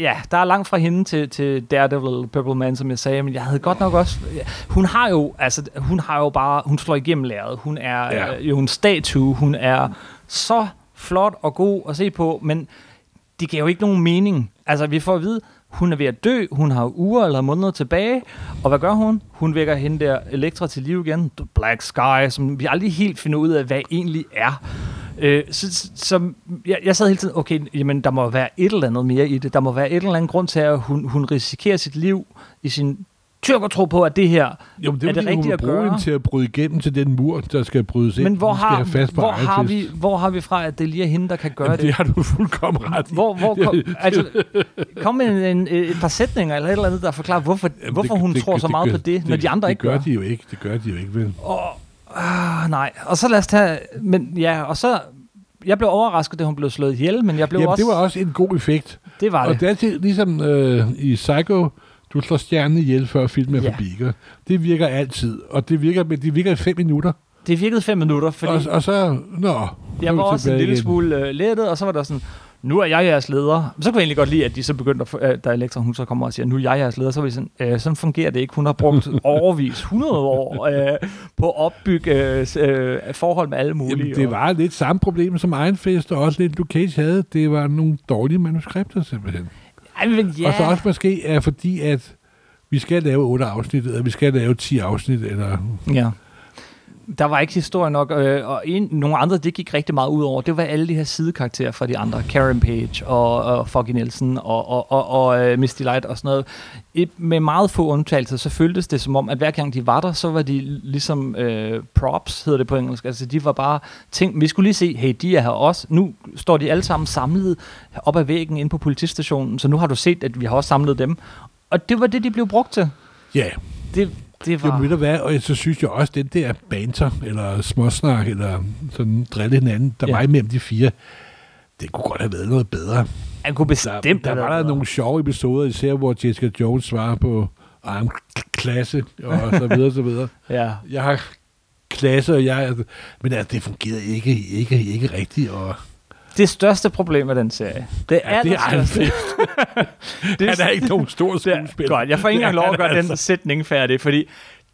[SPEAKER 1] Ja, der er langt fra hende til, til Daredevil, Purple Man, som jeg sagde, men jeg havde godt nok også... Hun har jo, altså, hun har jo bare... Hun slår igennem læret. Hun er ja.
[SPEAKER 2] Ja.
[SPEAKER 1] øh, jo en statue. Hun er så flot og god at se på, men det giver jo ikke nogen mening. Altså, vi får at vide, hun er ved at dø. Hun har uger eller måneder tilbage. Og hvad gør hun? Hun vækker hende der Elektra til liv igen. The Black Sky, som vi aldrig helt finder ud af, hvad egentlig er. Øh, så, så- så jeg, jeg sad hele tiden, okay, jamen, der må være et eller andet mere i det. Der må være et eller andet grund til, at hun, hun risikerer sit liv i sin tyrkertro på, at det her...
[SPEAKER 2] Jo, men det
[SPEAKER 1] Er
[SPEAKER 2] er,
[SPEAKER 1] det
[SPEAKER 2] fordi, hun
[SPEAKER 1] rigtigt
[SPEAKER 2] vil
[SPEAKER 1] at
[SPEAKER 2] bruge
[SPEAKER 1] gøre?
[SPEAKER 2] hende til at bryde igennem til den mur, der skal brydes ind.
[SPEAKER 1] Men hvor
[SPEAKER 2] Hun skal
[SPEAKER 1] har,
[SPEAKER 2] have fast på
[SPEAKER 1] hvor,
[SPEAKER 2] egen
[SPEAKER 1] har
[SPEAKER 2] fest.
[SPEAKER 1] vi, hvor har vi fra, at det lige er hende, der kan gøre
[SPEAKER 2] Jamen,
[SPEAKER 1] det?
[SPEAKER 2] det har du fuldkommen ret i.
[SPEAKER 1] Hvor, hvor kom, altså, kom med en, en, et par sætninger eller et eller andet, der forklarer, hvorfor, Jamen,
[SPEAKER 2] Jamen,
[SPEAKER 1] hvorfor hun tror så meget
[SPEAKER 2] gør-
[SPEAKER 1] på det, når de andre
[SPEAKER 2] det
[SPEAKER 1] ikke
[SPEAKER 2] gør.
[SPEAKER 1] gør.
[SPEAKER 2] Det gør de jo ikke, det gør de jo ikke, vel?
[SPEAKER 1] Ah, nej, og så lad os tage... Men ja, og så... Jeg blev overrasket, da hun blev slået ihjel, men jeg blev
[SPEAKER 2] Jamen,
[SPEAKER 1] også...
[SPEAKER 2] det var også en god effekt.
[SPEAKER 1] det var
[SPEAKER 2] Og
[SPEAKER 1] det.
[SPEAKER 2] det er altid ligesom øh, i Psycho, du slår stjernen ihjel, før filmen er
[SPEAKER 1] Ja.
[SPEAKER 2] ja. forbi. ikke? Det virker altid, og det virker, men det virker i fem minutter.
[SPEAKER 1] Det virkede fem minutter, fordi...
[SPEAKER 2] Og, og så, nå, så er
[SPEAKER 1] Jeg
[SPEAKER 2] vi
[SPEAKER 1] var også en
[SPEAKER 2] tilbage
[SPEAKER 1] lille
[SPEAKER 2] igen.
[SPEAKER 1] smule øh, lettet, og så var der sådan, nu er jeg jeres leder. Så kunne jeg egentlig godt lide, at de så begyndte, at, få- øh, da Elektra hun så kommer og siger, nu er jeg jeres leder, så var vi sådan, øh, sådan fungerer det ikke. Hun har brugt overvis 100 år øh, på at opbygge øh, s- øh, forhold med alle mulige.
[SPEAKER 2] Jamen, det
[SPEAKER 1] og-
[SPEAKER 2] var lidt samme problem som Iron Fist, og også lidt Luke Cage havde. Det var nogle dårlige manuskripter, simpelthen.
[SPEAKER 1] Ej, men ja.
[SPEAKER 2] Og så også måske er fordi, at vi skal lave otte afsnit, eller vi skal lave 10 afsnit, eller...
[SPEAKER 1] Ja. Der var ikke historie nok, øh, og en, nogle andre, det gik rigtig meget ud over. Det var alle de her sidekarakterer fra de andre. Karen Page og, og Foggy Nielsen og, og, og, og øh, Misty Light og sådan noget. Et, med meget få undtagelser, så føltes det som om, at hver gang de var der, så var de ligesom øh, props, hedder det på engelsk. Altså de var bare ting, vi skulle lige se, hey, de er her også. Nu står de alle sammen samlet op ad væggen inde på politistationen, så nu har du set, at vi har også samlet dem. Og det var det, de blev brugt til.
[SPEAKER 2] Ja,
[SPEAKER 1] Det, det
[SPEAKER 2] det
[SPEAKER 1] var...
[SPEAKER 2] må der være, og så synes jeg også, den der banter, eller småsnak, eller sådan drille hinanden, der
[SPEAKER 1] Ja.
[SPEAKER 2] ja. var imellem de fire, det kunne godt have været noget bedre.
[SPEAKER 1] Han kunne
[SPEAKER 2] Der,
[SPEAKER 1] bestemt
[SPEAKER 2] der
[SPEAKER 1] have været
[SPEAKER 2] var der
[SPEAKER 1] bedre.
[SPEAKER 2] nogle sjove episoder, især hvor Jessica Jones svarer på, I'm k- klasse, og så videre, så videre.
[SPEAKER 1] Ja.
[SPEAKER 2] Jeg har klasse, og jeg, altså, men altså, det fungerede ikke, ikke, ikke rigtigt, og
[SPEAKER 1] Det største problem med den serie, det er
[SPEAKER 2] ja, det er
[SPEAKER 1] allerstørste-
[SPEAKER 2] aldrig,
[SPEAKER 1] det
[SPEAKER 2] han er ikke nogen stor
[SPEAKER 1] Det er,
[SPEAKER 2] skuespiller.
[SPEAKER 1] godt, jeg får ikke engang
[SPEAKER 2] Det altså.
[SPEAKER 1] lov
[SPEAKER 2] er
[SPEAKER 1] at gøre
[SPEAKER 2] han
[SPEAKER 1] den sætning færdig, fordi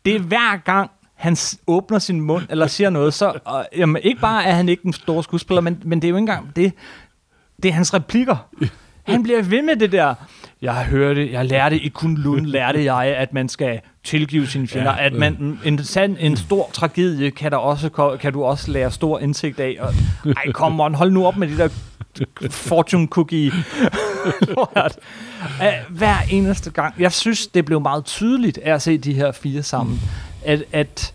[SPEAKER 1] det er hver gang, han s- åbner sin mund eller siger noget, så og, jamen, ikke bare er han ikke den store skuespiller, men, men det er jo ikke engang det. Det er hans replikker. Han bliver ved med det der. Jeg hørte, jeg lærte i Kunlun, lærte jeg, at man skal tilgive sine fjender. Ja,
[SPEAKER 2] Ja,
[SPEAKER 1] at man, en, sand, en stor tragedie kan, der også, ko- kan du også lære stor indsigt af. Og, ej, kom on, hold nu op med det der fortune cookie lort. Uh, hver eneste gang. Jeg synes, det blev meget tydeligt af at se de her fire sammen, at, at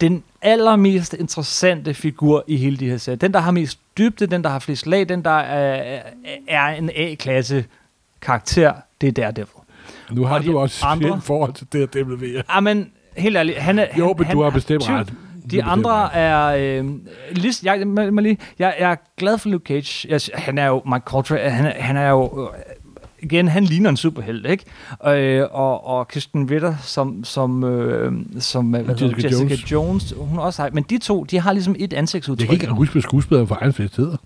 [SPEAKER 1] den allermest interessante figur i hele det her serie, den, der har mest dybde, den, der har flest lag, den, der er, er en A-klasse karakter, det er Daredevil.
[SPEAKER 2] Nu har
[SPEAKER 1] Og de
[SPEAKER 2] du også
[SPEAKER 1] andre-
[SPEAKER 2] andre? forhold til det, det vil være.
[SPEAKER 1] Ah, men helt ærligt, han er...
[SPEAKER 2] Jo,
[SPEAKER 1] han,
[SPEAKER 2] men
[SPEAKER 1] han
[SPEAKER 2] du har
[SPEAKER 1] er
[SPEAKER 2] bestemt
[SPEAKER 1] tyv.
[SPEAKER 2] ret. Du
[SPEAKER 1] De
[SPEAKER 2] har bestemt
[SPEAKER 1] andre
[SPEAKER 2] ret.
[SPEAKER 1] er... Øh, lige, jeg, må, må lige, jeg, jeg er glad for Luke Cage. Jeg, sy- han er jo... Mark Coltrane, øh, han, er- han er jo... øh, Igen, han ligner en superhelt, ikke? Øh, og, og Kristen Ritter, som, som, øh, som øh, hvad hedder,
[SPEAKER 2] Jessica
[SPEAKER 1] Jessica Jones. Jones, hun er også sej. Men de to, de har ligesom et ansigtsudtryk.
[SPEAKER 2] Jeg kan ikke engang huske, hvad skuespilleren for egen fest hedder.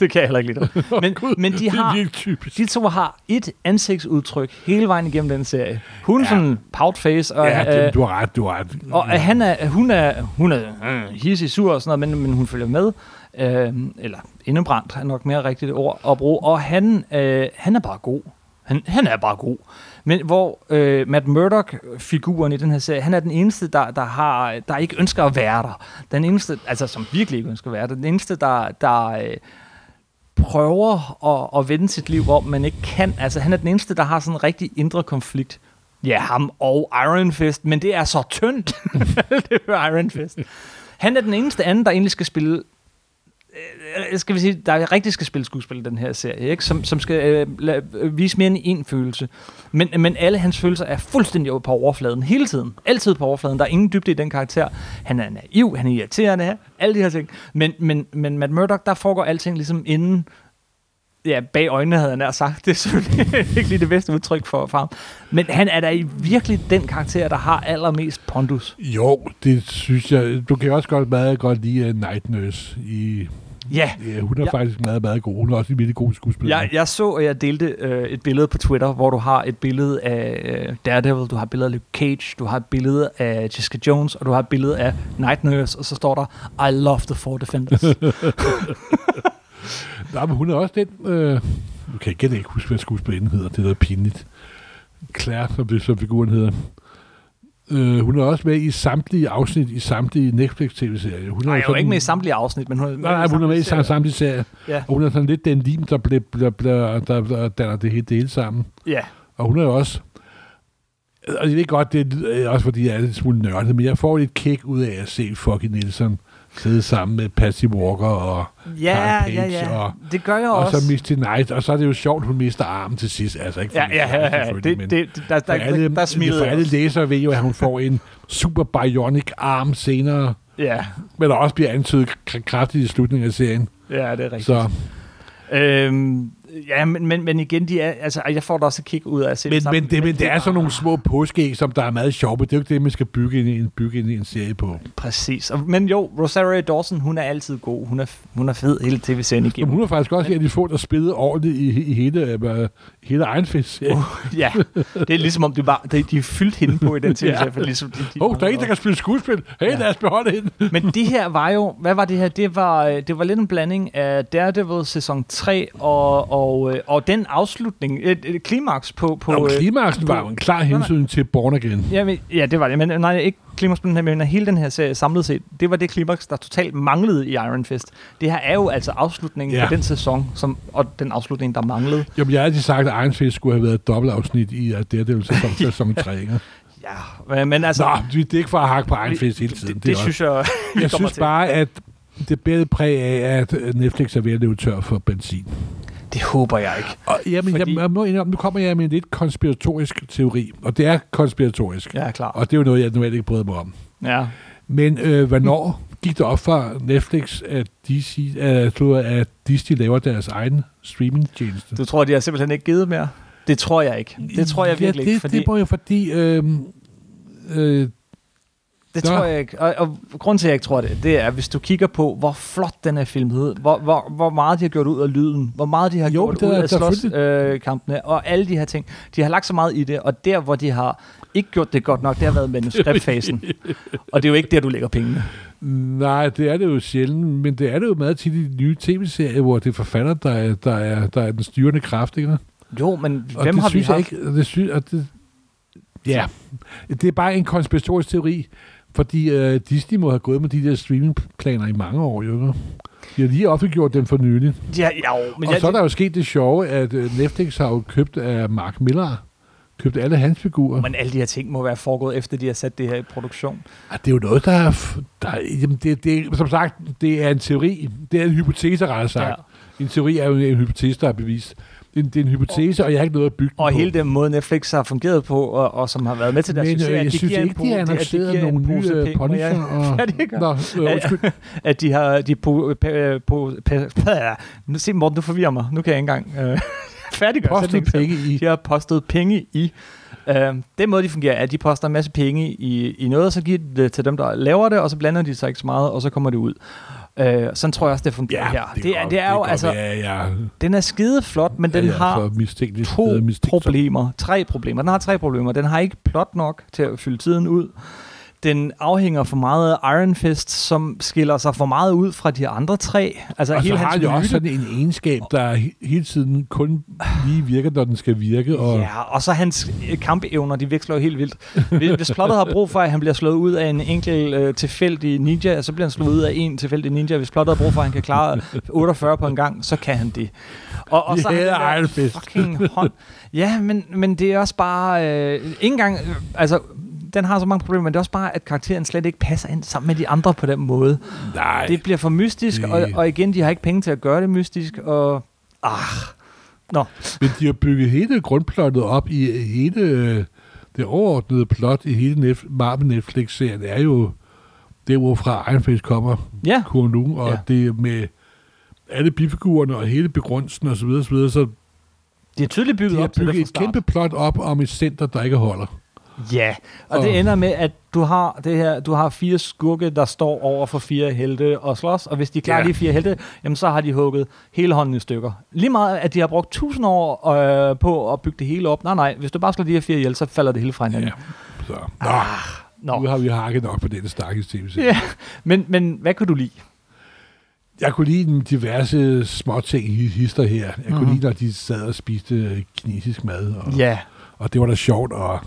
[SPEAKER 1] Det kan jeg heller ikke lide. Men,
[SPEAKER 2] Gud,
[SPEAKER 1] men de har...
[SPEAKER 2] Det er virkelig typisk.
[SPEAKER 1] De to har et ansigtsudtryk hele vejen igennem den serie. Hun ja. sådan pout face, og,
[SPEAKER 2] Ja,
[SPEAKER 1] øh,
[SPEAKER 2] det, du har ret, du har ret.
[SPEAKER 1] Og at han er, hun er, hun er øh, hissig sur og sådan noget, men, men hun følger med. Øh, eller indebrændt er nok mere rigtigt ord at bruge. Og han, øh, han er bare god. Han, han er bare god. Men hvor øh, Matt Murdock-figuren i den her serie, han er den eneste, der, der, har, der ikke ønsker at være der. Den eneste, altså som virkelig ikke ønsker at være der. Den eneste, der, der øh, prøver at, at vende sit liv om, men ikke kan. Altså, han er den eneste, der har sådan en rigtig indre konflikt. Ja, ham og Iron Fist, men det er så tyndt. det er jo Iron Fist. Han er den eneste anden, der egentlig skal spille øh, skal vi sige, der rigtig skal spille skuespil i den her serie, ikke? Som, som skal øh, la, øh, vise mere end én følelse. Men, men alle hans følelser er fuldstændig over på overfladen hele tiden. Altid på overfladen. Der er ingen dybde i den karakter. Han er naiv, han er irriterende, alle de her ting. Men, men, men Matt Murdock, der foregår alting ligesom inden ja, bag øjnene havde han nær sagt. Det er selvfølgelig ikke lige det bedste udtryk for, for ham. Men han er da i virkelig den karakter, der har allermest pondus.
[SPEAKER 2] Jo, det synes jeg. Du kan også godt meget godt lide uh, Night Nurse. I,
[SPEAKER 1] Ja,
[SPEAKER 2] ja, hun er
[SPEAKER 1] Ja.
[SPEAKER 2] ja. faktisk meget, meget god. Hun er også en virkelig god skuespiller.
[SPEAKER 1] jeg, jeg så, at jeg delte øh, et billede på Twitter, hvor du har et billede af øh, Daredevil, du har et billede af Luke Cage, du har et billede af Jessica Jones, og du har et billede af Night Nurse, og så står der, I love the Four Defenders.
[SPEAKER 2] Nej, men hun er også den... Øh, nu kan jeg igen ikke huske, hvad skuespilleren hedder. Det er noget pinligt. Claire, som, det, som figuren hedder. Øh, hun er også med i samtlige afsnit i samtlige Netflix-tv-serier. Hun er
[SPEAKER 1] Nej, jeg er jo
[SPEAKER 2] sådan-
[SPEAKER 1] ikke med i samtlige afsnit, men hun er med,
[SPEAKER 2] Nej, nej, hun er med i sam- samtlige serier.
[SPEAKER 1] Ja,
[SPEAKER 2] Og hun er sådan lidt den lim, der, bliver, bliver, bliver, der, der danner det hele, det hele sammen.
[SPEAKER 1] ja.
[SPEAKER 2] Og hun er jo også... Og jeg ved godt, det er øh, også fordi, jeg er lidt smule nørdet, men jeg får lidt kick ud af at se fucking Nielsen sidde sammen med Patsy Walker og,
[SPEAKER 1] Ja,
[SPEAKER 2] Page
[SPEAKER 1] ja, ja.
[SPEAKER 2] og-
[SPEAKER 1] Det gør jeg
[SPEAKER 2] og
[SPEAKER 1] også.
[SPEAKER 2] så Misty Knight. Og så er det jo sjovt, hun mister armen til sidst. Altså ikke for
[SPEAKER 1] ja,
[SPEAKER 2] Misty
[SPEAKER 1] ja,
[SPEAKER 2] Knight,
[SPEAKER 1] ja, ja. Det,
[SPEAKER 2] selvfølgelig,
[SPEAKER 1] det,
[SPEAKER 2] men
[SPEAKER 1] det, der, der,
[SPEAKER 2] for alle,
[SPEAKER 1] der, der smilede
[SPEAKER 2] for alle
[SPEAKER 1] jeg.
[SPEAKER 2] læsere ved jo, at hun får en super bionic arm senere,
[SPEAKER 1] Ja,
[SPEAKER 2] men der også bliver antydet k- kraftigt i slutningen af serien.
[SPEAKER 1] ja, det er rigtigt.
[SPEAKER 2] Så,
[SPEAKER 1] Øhm, ja, men, men, men igen, de er, altså, jeg får da også et kig ud af at se
[SPEAKER 2] men,
[SPEAKER 1] sammen,
[SPEAKER 2] men, det, men det er
[SPEAKER 1] bare-
[SPEAKER 2] sådan nogle små påskeæg, som der er meget sjove. Det er jo ikke det, man skal bygge en, en, bygge en, en serie på.
[SPEAKER 1] Præcis. Og- Men jo, Rosario Dawson, hun er altid god. Hun er, hun er fed hele tv-serien
[SPEAKER 2] Jamen,
[SPEAKER 1] igennem.
[SPEAKER 2] hun er faktisk også en af de få, der spillede ordentligt i, i hele, øh, hele egen fisk. Åh, oh,
[SPEAKER 1] ja, det er ligesom om, det bare, det, de er fyldt hende på i den tv-serie.
[SPEAKER 2] Ja.
[SPEAKER 1] for ligesom, de, de,
[SPEAKER 2] oh, der er en, der kan spille skuespil. Hey,
[SPEAKER 1] Ja.
[SPEAKER 2] ja. lad os beholde hende.
[SPEAKER 1] Men det her var jo, hvad var det her? Det var, øh, det var lidt en blanding af Daredevil sæson 3 og, og, øh, og den afslutning, et, et klimaks på... på
[SPEAKER 2] Nå, men
[SPEAKER 1] øh,
[SPEAKER 2] klimaksen var jo en klar hensyn til Born Again.
[SPEAKER 1] Ja, men, ja, det var det. Men øh, nej, ikke klimaks på den her, men hele den her serie samlet set, det var det klimaks, der totalt manglede i Iron Fist. Det her er jo altså afslutningen ja.
[SPEAKER 2] Ja.
[SPEAKER 1] på den sæson, som, og den afslutning, der manglede.
[SPEAKER 2] Jamen, jeg har altid sagt, at Iron Fist skulle have været et dobbeltafsnit i uh, Daredevil sæson, sæson 3. Ikke?
[SPEAKER 1] Ja, men altså...
[SPEAKER 2] Nå, vi- det er ikke for at hakke på Iron Fist hele tiden.
[SPEAKER 1] Det, det
[SPEAKER 2] er
[SPEAKER 1] synes jeg, vi
[SPEAKER 2] også. jeg
[SPEAKER 1] kommer
[SPEAKER 2] synes
[SPEAKER 1] til.
[SPEAKER 2] bare, at det bærer præg af, at Netflix er ved at løbe tør for benzin.
[SPEAKER 1] Det håber jeg ikke.
[SPEAKER 2] Og, jamen,
[SPEAKER 1] Fordi-
[SPEAKER 2] Fordi... jeg må indrømme, nu kommer jeg med en lidt konspiratorisk teori, og det er konspiratorisk.
[SPEAKER 1] Jeg er klar.
[SPEAKER 2] Og det er jo noget, jeg normalt ikke bryder mig om.
[SPEAKER 1] Ja.
[SPEAKER 2] Men øh, hvornår gik det op for Netflix, at, DC, at, at Disney laver deres egen streamingtjeneste?
[SPEAKER 1] Du tror, de har simpelthen ikke givet mere? Det tror jeg ikke. Det tror jeg virkelig
[SPEAKER 2] ja, det,
[SPEAKER 1] ikke, fordi
[SPEAKER 2] det må jo fordi... Øh, øh,
[SPEAKER 1] Det
[SPEAKER 2] Nå.
[SPEAKER 1] tror jeg ikke. Og, og grunden til, at jeg ikke tror det, det er, hvis du kigger på, hvor flot den her film hed, hvor, hvor, hvor meget de har gjort ud af lyden, hvor meget de har
[SPEAKER 2] Jo,
[SPEAKER 1] gjort
[SPEAKER 2] det er-
[SPEAKER 1] ud
[SPEAKER 2] det er
[SPEAKER 1] af slåskampene,
[SPEAKER 2] selvfølgelig-
[SPEAKER 1] øh, kampene, og alle de her ting. De har lagt så meget i det, og der, hvor de har ikke gjort det godt nok, det har været manuskriptfasen. og det er jo ikke der, du lægger pengene.
[SPEAKER 2] Nej, det er det jo sjældent, men det er det jo meget tit i de nye tv-serier, hvor det er forfatter, der er, der er, der er den styrende kraft, ikke?
[SPEAKER 1] Jo, men
[SPEAKER 2] Og
[SPEAKER 1] hvem
[SPEAKER 2] det
[SPEAKER 1] har
[SPEAKER 2] synes
[SPEAKER 1] vi
[SPEAKER 2] jeg
[SPEAKER 1] haft?
[SPEAKER 2] ikke, og det synes, og det, ja, det er bare en konspiratorisk teori, fordi øh, Disney må have gået med de der streamingplaner i mange år, jo. ikke? De har lige offentliggjort dem for nylig.
[SPEAKER 1] Ja, jo, men
[SPEAKER 2] og
[SPEAKER 1] jeg,
[SPEAKER 2] så er der jo sket det sjove, at øh, Netflix har jo købt af Mark Millar, købt alle hans figurer.
[SPEAKER 1] men alle de her ting må være foregået, efter de har sat det her i produktion.
[SPEAKER 2] Ej, Ah, det er jo noget, der er... f- Der, er- jamen, det, det, som sagt, det er en teori. Det er en hypotese, rettere sagt. Ja. En teori er jo en hypotese, der er bevist. Det er, en- det er en hypotese, og, og jeg har ikke noget at bygge den
[SPEAKER 1] Og
[SPEAKER 2] på.
[SPEAKER 1] hele den måde, Netflix har fungeret på, og, og som har været med til deres
[SPEAKER 2] Men
[SPEAKER 1] succes,
[SPEAKER 2] øh, jeg
[SPEAKER 1] at de
[SPEAKER 2] synes
[SPEAKER 1] giver en
[SPEAKER 2] ikke, de har
[SPEAKER 1] pose- at
[SPEAKER 2] annonceret
[SPEAKER 1] giver en
[SPEAKER 2] nogle
[SPEAKER 1] pose
[SPEAKER 2] nye øh,
[SPEAKER 1] penge, men jeg-
[SPEAKER 2] punisher. Og...
[SPEAKER 1] Ja, det gør.
[SPEAKER 2] Nå, øh, undskyld.
[SPEAKER 1] at de har de på, på, på, på nu se Morten, du forvirrer mig. Nu kan jeg ikke engang øh, færdiggøre
[SPEAKER 2] Postet
[SPEAKER 1] sætningen selv.
[SPEAKER 2] penge i.
[SPEAKER 1] De har postet penge i. Øh, den måde, de fungerer, er, at de poster en masse penge i, i noget, og så giver de det til dem, der laver det, og så blander de sig ikke så meget, og så kommer det ud. Øh, sådan tror jeg også, det fungerer her. Det, det,
[SPEAKER 2] kan
[SPEAKER 1] er,
[SPEAKER 2] godt-
[SPEAKER 1] det er jo,
[SPEAKER 2] kan
[SPEAKER 1] altså,
[SPEAKER 2] godt være, jeg-
[SPEAKER 1] den er skide flot, men den
[SPEAKER 2] jeg er
[SPEAKER 1] har
[SPEAKER 2] for mistænkelig,
[SPEAKER 1] to
[SPEAKER 2] øh, mistænksom.
[SPEAKER 1] problemer, tre problemer. Den har tre problemer. Den har ikke plot nok til at fylde tiden ud. Den afhænger for meget af Iron Fist, som skiller sig for meget ud fra de andre tre. Altså
[SPEAKER 2] Og så
[SPEAKER 1] hele hans
[SPEAKER 2] har det jo også
[SPEAKER 1] myte.
[SPEAKER 2] sådan en egenskab, der he- hele tiden kun lige virker, når den skal virke. Og,
[SPEAKER 1] Ja, og så hans øh, kampevner, de veksler jo helt vildt. Hvis, hvis plottet har brug for, at han bliver slået ud af en enkelt øh, tilfældig ninja, så bliver han slået ud af en tilfældig ninja. Hvis plottet har brug for, at han kan klare 48 på en gang, så kan han det. Og, og
[SPEAKER 2] Vi
[SPEAKER 1] så har han den
[SPEAKER 2] hader
[SPEAKER 1] der
[SPEAKER 2] Iron Fist.
[SPEAKER 1] Fucking hånd. Ja, men, men det er også bare... Øh, ikke engang... Øh, altså, den har så mange problemer, men det er også bare, at karakteren slet ikke passer ind sammen med de andre på den måde.
[SPEAKER 2] Nej.
[SPEAKER 1] Det bliver for mystisk,
[SPEAKER 2] Det-
[SPEAKER 1] og, og igen, de har ikke penge til at gøre det mystisk, og... Ah, Nå,
[SPEAKER 2] Men de har bygget hele grundplottet op i hele øh, det overordnede plot i hele Netf- Marvel Netflix-serien er jo det, hvorfra Iron Fist kommer,
[SPEAKER 1] ja.
[SPEAKER 2] Kung Lung, og
[SPEAKER 1] Ja.
[SPEAKER 2] ja. det med alle bifigurerne og hele begrundelsen osv. Så, videre, så, videre, så
[SPEAKER 1] De er tydeligt bygget
[SPEAKER 2] de har
[SPEAKER 1] op til det
[SPEAKER 2] bygget
[SPEAKER 1] fra
[SPEAKER 2] et
[SPEAKER 1] start.
[SPEAKER 2] kæmpe plot op om et center, der ikke holder.
[SPEAKER 1] Ja, og det
[SPEAKER 2] Og-
[SPEAKER 1] ender med, at du har, det her, du har fire skurke, der står over for fire helte og slås, og hvis de klarer
[SPEAKER 2] Ja.
[SPEAKER 1] de fire helte, jamen så har de hugget hele hånden i stykker. Lige meget, at de har brugt tusind år øh, på at bygge det hele op. Nej, nej, hvis du bare slår de her fire ihjel, så falder det hele fra hinanden.
[SPEAKER 2] Ja.
[SPEAKER 1] Ja. Ah,
[SPEAKER 2] Så, nå, nu
[SPEAKER 1] Nå.
[SPEAKER 2] har vi hakket nok på denne stakkels tv-serie.
[SPEAKER 1] Ja. Men, men hvad kunne du lide?
[SPEAKER 2] Jeg kunne lide en diverse småting i hister her. Jeg kunne
[SPEAKER 1] Mhm.
[SPEAKER 2] lide, når de sad og spiste øh, kinesisk mad. Og,
[SPEAKER 1] Ja,
[SPEAKER 2] Og det var da sjovt, og,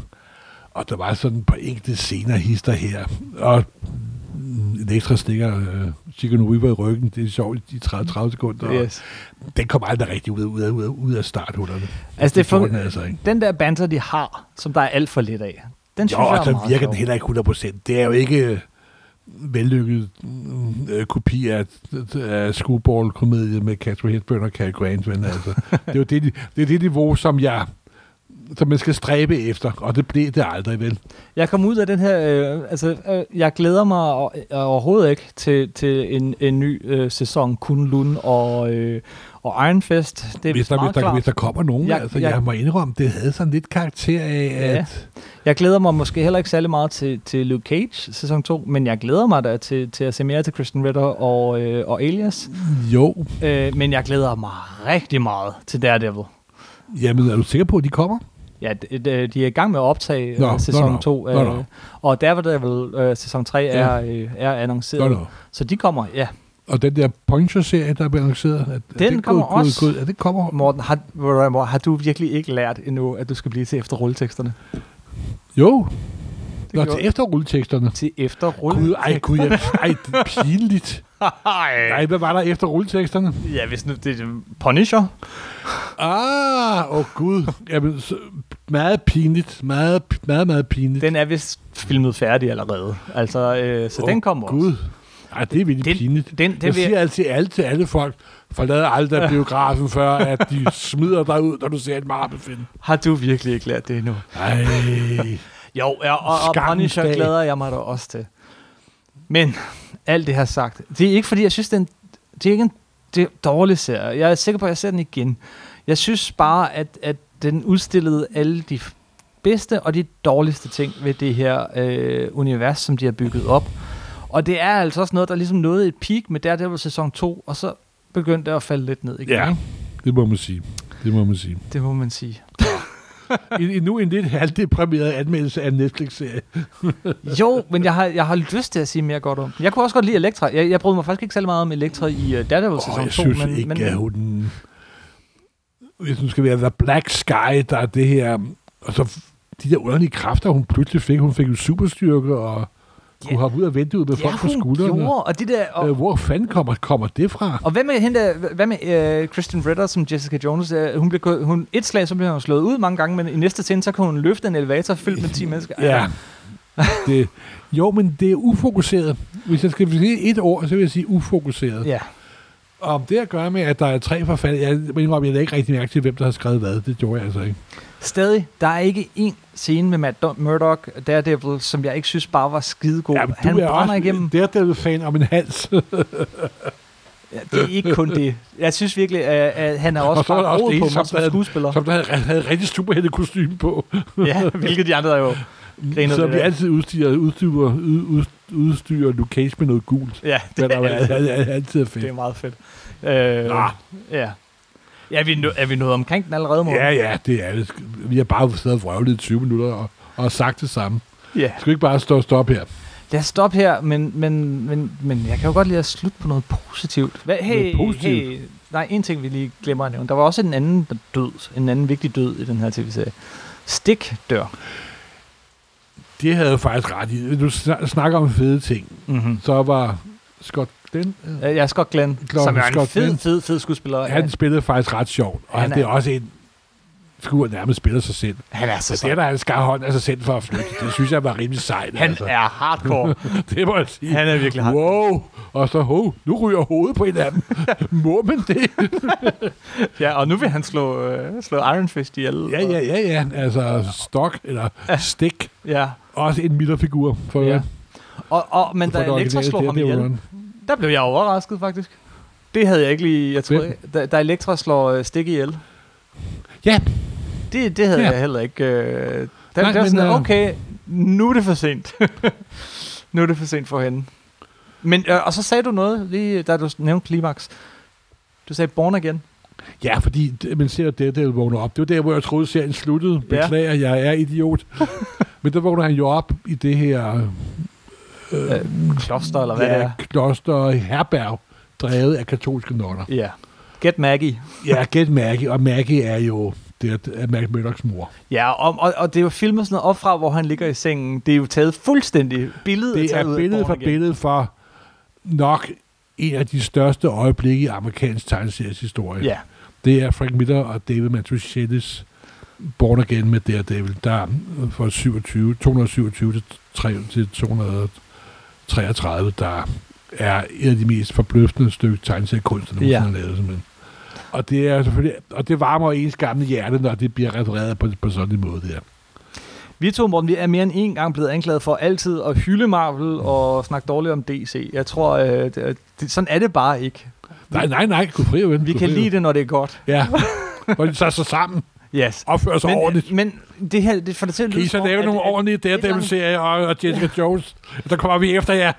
[SPEAKER 2] og der var sådan på enkelte scener hister her. Og mm, en ekstra stikker øh, Chicken Weaver i ryggen, det er sjovt i 30, 30 sekunder. Yes.
[SPEAKER 1] yes.
[SPEAKER 2] Den kom aldrig rigtig ud af, ud af, ud af, ud af starthullerne.
[SPEAKER 1] Altså, det er for-
[SPEAKER 2] gjorde den altså, ikke?
[SPEAKER 1] Den der banter, de har, som der er alt for lidt af, den synes
[SPEAKER 2] Jo,
[SPEAKER 1] jeg
[SPEAKER 2] og
[SPEAKER 1] er
[SPEAKER 2] så
[SPEAKER 1] meget
[SPEAKER 2] virker
[SPEAKER 1] sjov.
[SPEAKER 2] den heller ikke 100%. Det er jo ikke øh, vellykket mm, øh, kopi af, af screwball-komedie med Catherine Hepburn og Cary Grant, men altså, det er jo det, ni- det, er det niveau, som jeg som man skal stræbe efter, og det blev det aldrig, vel?
[SPEAKER 1] Jeg kom ud af den her, øh, altså øh, jeg glæder mig o- overhovedet ikke til, til en, en ny øh, sæson Kunlun og, øh, og Iron Fest. Det er
[SPEAKER 2] hvis, der, hvis,
[SPEAKER 1] meget
[SPEAKER 2] der, hvis
[SPEAKER 1] klart.
[SPEAKER 2] der kommer nogen,
[SPEAKER 1] Jeg-
[SPEAKER 2] jeg, altså,
[SPEAKER 1] jeg-
[SPEAKER 2] jeg, jeg må indrømme, det havde sådan lidt karakter af,
[SPEAKER 1] Ja.
[SPEAKER 2] ja. at...
[SPEAKER 1] Jeg glæder mig måske heller ikke særlig meget til, til Luke Cage sæson 2, men jeg glæder mig da til, til at se mere til Christian Ritter og, øh, og Alias.
[SPEAKER 2] Jo,
[SPEAKER 1] Øh, men jeg glæder mig rigtig meget til Daredevil.
[SPEAKER 2] jamen er du sikker på, at de kommer?
[SPEAKER 1] Ja, d- d- de er i gang med at optage
[SPEAKER 2] Nå,
[SPEAKER 1] no, sæson
[SPEAKER 2] nå, nå.
[SPEAKER 1] 2,
[SPEAKER 2] Nå, nå.
[SPEAKER 1] og Daredevil øh, sæson 3
[SPEAKER 2] Ja.
[SPEAKER 1] er, øh, er annonceret.
[SPEAKER 2] Nå, nå.
[SPEAKER 1] Så de kommer, ja.
[SPEAKER 2] Og den der Punisher-serie, der bliver annonceret, er, er
[SPEAKER 1] Den
[SPEAKER 2] det
[SPEAKER 1] kommer
[SPEAKER 2] gået- gået-
[SPEAKER 1] også.
[SPEAKER 2] gået- er det kommer
[SPEAKER 1] Morten, har, ved du hvad, Morten, har du virkelig ikke lært endnu, at du skal blive til efter rulleteksterne?
[SPEAKER 2] Jo.
[SPEAKER 1] Det
[SPEAKER 2] Nå,
[SPEAKER 1] gjorde-
[SPEAKER 2] til efter rulleteksterne.
[SPEAKER 1] Til efter
[SPEAKER 2] Gud,
[SPEAKER 1] rulleteksterne?
[SPEAKER 2] ej, gud, jeg, ej, det er pinligt.
[SPEAKER 1] Nej.
[SPEAKER 2] Nej, hvad var der efter rulleteksterne?
[SPEAKER 1] Ja, hvis nu det er Punisher.
[SPEAKER 2] Ah, åh oh, gud. Jamen, så, meget pinligt. Meget, meget, meget pinligt.
[SPEAKER 1] Den er vist filmet færdig allerede. Altså, øh, så
[SPEAKER 2] Åh,
[SPEAKER 1] den kommer også.
[SPEAKER 2] Gud. Ej, det er virkelig
[SPEAKER 1] Den-
[SPEAKER 2] pinligt.
[SPEAKER 1] Den, den
[SPEAKER 2] jeg
[SPEAKER 1] vil,
[SPEAKER 2] siger altid alt til alle folk, forlad aldrig biografen før, at de smider dig ud, når du ser et marmefilm.
[SPEAKER 1] har du virkelig ikke lært det endnu?
[SPEAKER 2] Ej,
[SPEAKER 1] Jo, ja, og, og
[SPEAKER 2] Skammens
[SPEAKER 1] Punisher
[SPEAKER 2] dag.
[SPEAKER 1] glæder jeg mig da også til. Men alt det her sagt, det er ikke fordi, jeg synes, den, det er ikke en det er en dårlig serie. Jeg er sikker på, at jeg ser den igen. Jeg synes bare, at, at den udstillede alle de f- bedste og de dårligste ting ved det her øh, univers, som de har bygget op. Og det er altså også noget, der ligesom nåede et peak med Daredevil sæson 2, og så begyndte det at falde lidt ned igen.
[SPEAKER 2] Ja.
[SPEAKER 1] Ikke?
[SPEAKER 2] Det må man sige. Det må man sige.
[SPEAKER 1] Det må man sige.
[SPEAKER 2] En- Endnu en lidt halvdeprimeret anmeldelse af en Netflix-serie.
[SPEAKER 1] Jo, men jeg har, jeg har lyst til at sige mere godt om den. Jeg kunne også godt lide Elektra. Jeg, jeg brød mig faktisk ikke særlig meget om Elektra i uh, Daredevil
[SPEAKER 2] Åh,
[SPEAKER 1] sæson
[SPEAKER 2] jeg
[SPEAKER 1] 2.
[SPEAKER 2] synes
[SPEAKER 1] men,
[SPEAKER 2] ikke,
[SPEAKER 1] men,
[SPEAKER 2] at hun... Hvis hun skal være The Black Sky, der er det her... Og så f- de der underlige kræfter, hun pludselig fik. Hun fik jo superstyrke og kunne
[SPEAKER 1] Ja.
[SPEAKER 2] hoppe ud og vente ud med
[SPEAKER 1] ja,
[SPEAKER 2] folk på
[SPEAKER 1] hun
[SPEAKER 2] skuldrene.
[SPEAKER 1] gjorde, og de der... Og,
[SPEAKER 2] Øh, hvor fanden kommer, kommer det fra?
[SPEAKER 1] Og hvad med hende, der- hvad med øh, Kristen Ritter som Jessica Jones? Øh, hun blev, gået- hun, et slag, så blev hun slået ud mange gange, men i næste scene, så kan hun løfte en elevator fyldt med 10 mennesker.
[SPEAKER 2] Ja. det, jo, men det er ufokuseret. Hvis jeg skal sige et ord, så vil jeg sige ufokuseret.
[SPEAKER 1] Ja.
[SPEAKER 2] Og om det at gøre med, at der er tre forfattere, jeg indrømmer, jeg lagde ikke rigtig mærke til, hvem der har skrevet hvad. Det gjorde jeg altså ikke.
[SPEAKER 1] Stadig, der er ikke en scene med Matt Dun- Murdock, Daredevil, som jeg ikke synes bare var skidegod.
[SPEAKER 2] Jamen,
[SPEAKER 1] Han brænder igennem.
[SPEAKER 2] Det er der fan om en hals.
[SPEAKER 1] Ja, det er ikke kun det. Jeg synes virkelig, at, at han er også
[SPEAKER 2] Og så er
[SPEAKER 1] bare
[SPEAKER 2] der også
[SPEAKER 1] rodet
[SPEAKER 2] det
[SPEAKER 1] på
[SPEAKER 2] ene,
[SPEAKER 1] mig
[SPEAKER 2] som
[SPEAKER 1] som
[SPEAKER 2] der-
[SPEAKER 1] skuespiller.
[SPEAKER 2] som der havde, havde rigtig superhelte kostume på.
[SPEAKER 1] Ja, hvilket de andre der jo grinede
[SPEAKER 2] så
[SPEAKER 1] lidt
[SPEAKER 2] vi
[SPEAKER 1] af.
[SPEAKER 2] altid udstyrer, udstyrer, ud- ud- udstyrer Luke Cage med noget gult.
[SPEAKER 1] Ja,
[SPEAKER 2] Det
[SPEAKER 1] det,
[SPEAKER 2] er,
[SPEAKER 1] er,
[SPEAKER 2] altid, altid fedt.
[SPEAKER 1] det er meget fedt. Øh,
[SPEAKER 2] Nå.
[SPEAKER 1] ja. Ja, er vi, nå, er vi nået omkring den allerede, morgen?
[SPEAKER 2] Ja, ja, det er det. Vi har bare siddet og vrøvlet i 20 minutter og, og sagt det samme.
[SPEAKER 1] ja.
[SPEAKER 2] Skal vi ikke bare stå og stoppe her?
[SPEAKER 1] Lad os stoppe her, men, men, men, men jeg kan jo godt lide at slutte på noget positivt. Hvad, hey,
[SPEAKER 2] Noget positivt?
[SPEAKER 1] Hey, nej, en ting, vi lige glemmer at nævne. Der var også en anden der død, en anden vigtig død i den her tv-serie. Stik dør.
[SPEAKER 2] Det havde jeg faktisk ret i. Du snak- snakker om fede ting.
[SPEAKER 1] Mm-hmm.
[SPEAKER 2] Så var Scott den
[SPEAKER 1] Øh, Jeg er Scott Glenn,
[SPEAKER 2] Mhm. Glenn-
[SPEAKER 1] som er en
[SPEAKER 2] Scott
[SPEAKER 1] fed,
[SPEAKER 2] Glenn.
[SPEAKER 1] fed, fed skuespiller.
[SPEAKER 2] han spillede faktisk ret sjovt. Og
[SPEAKER 1] Han
[SPEAKER 2] han det er
[SPEAKER 1] er-
[SPEAKER 2] også en skur nærmest spiller sig selv.
[SPEAKER 1] han er så
[SPEAKER 2] Så Altså, det,
[SPEAKER 1] sej.
[SPEAKER 2] der han skar hånden af sig selv for at flytte, det synes jeg var rimelig sejt.
[SPEAKER 1] Han
[SPEAKER 2] altså.
[SPEAKER 1] er hardcore.
[SPEAKER 2] Det må jeg sige.
[SPEAKER 1] Han er virkelig hard.
[SPEAKER 2] Wow! Og så, ho, nu ryger hovedet på en af dem. Må man det?
[SPEAKER 1] Ja, og nu vil han slå, øh, slå Iron Fist ihjel.
[SPEAKER 2] Ja, ja, ja, ja. Altså, stok eller stik.
[SPEAKER 1] ja.
[SPEAKER 2] Også en midterfigur. For,
[SPEAKER 1] ja. Og, og, men
[SPEAKER 2] for
[SPEAKER 1] da
[SPEAKER 2] det
[SPEAKER 1] Elektra
[SPEAKER 2] originale
[SPEAKER 1] slår ham ihjel,
[SPEAKER 2] Daredevil.
[SPEAKER 1] Der blev jeg overrasket, faktisk. Det havde jeg ikke lige... Jeg troede,
[SPEAKER 2] Hvem?
[SPEAKER 1] da, da Elektra slår øh, stik ihjel.
[SPEAKER 2] Ja.
[SPEAKER 1] Det, det havde ja.
[SPEAKER 2] Ja.
[SPEAKER 1] jeg heller ikke... Øh, der, Nej,
[SPEAKER 2] Nej,
[SPEAKER 1] der var
[SPEAKER 2] men,
[SPEAKER 1] sådan,
[SPEAKER 2] øh,
[SPEAKER 1] okay, nu er det for sent. nu er det for sent for hende. Men, øh, og så sagde du noget, lige da du nævnte Klimax. Du sagde Born Again.
[SPEAKER 2] Ja, fordi det- man ser, at Daredevil vågner op. Det var der, hvor jeg troede, serien sluttede. Beklager, jeg er idiot. Men der vågner han jo op i det her
[SPEAKER 1] Øh, kloster, eller hvad ja. det
[SPEAKER 2] ja,
[SPEAKER 1] er.
[SPEAKER 2] kloster herberg, drevet af katolske nonner.
[SPEAKER 1] Ja. Get Maggie.
[SPEAKER 2] Ja, gæt Maggie, og Maggie er jo det er Mac Murdochs mor.
[SPEAKER 1] Ja, og, og, og det er jo filmet sådan noget op fra, hvor han ligger i sengen. Det er jo taget fuldstændig billedet
[SPEAKER 2] Det
[SPEAKER 1] taget
[SPEAKER 2] er
[SPEAKER 1] ud af
[SPEAKER 2] billede
[SPEAKER 1] Born
[SPEAKER 2] for
[SPEAKER 1] Again.
[SPEAKER 2] billede for nok en af de største øjeblikke i amerikansk tegneseries historie.
[SPEAKER 1] Ja.
[SPEAKER 2] Det er Frank Miller og David Mazzucchettis Born Again med Daredevil, der er fra 27, 227 til, 3, til 233, der er et af de mest forbløffende stykke tegneseriekunst, der nogensinde
[SPEAKER 1] Ja.
[SPEAKER 2] ja. har lavet. Simpelthen. Og det er selvfølgelig, og det varmer ens gamle hjerte, når det bliver refereret på, på sådan en måde der.
[SPEAKER 1] Vi to, Morten, vi er mere end en gang blevet anklaget for altid at hylde Marvel
[SPEAKER 2] Mm.
[SPEAKER 1] og snakke dårligt om DC. Jeg tror, øh, det, det, sådan er det bare ikke.
[SPEAKER 2] Nej, nej, nej, kunne fri ven.
[SPEAKER 1] Vi kan lide det, når det er godt.
[SPEAKER 2] Ja, hvor de tager sig sammen,
[SPEAKER 1] Yes.
[SPEAKER 2] opfører sig men, ordentligt.
[SPEAKER 1] Men, men det her, det får det til at
[SPEAKER 2] Kan I
[SPEAKER 1] lyde
[SPEAKER 2] så
[SPEAKER 1] som om,
[SPEAKER 2] lave
[SPEAKER 1] at-
[SPEAKER 2] nogle
[SPEAKER 1] at
[SPEAKER 2] ordentlige Daredevil-serier og, og Jessica Jones? Der kommer vi efter jer.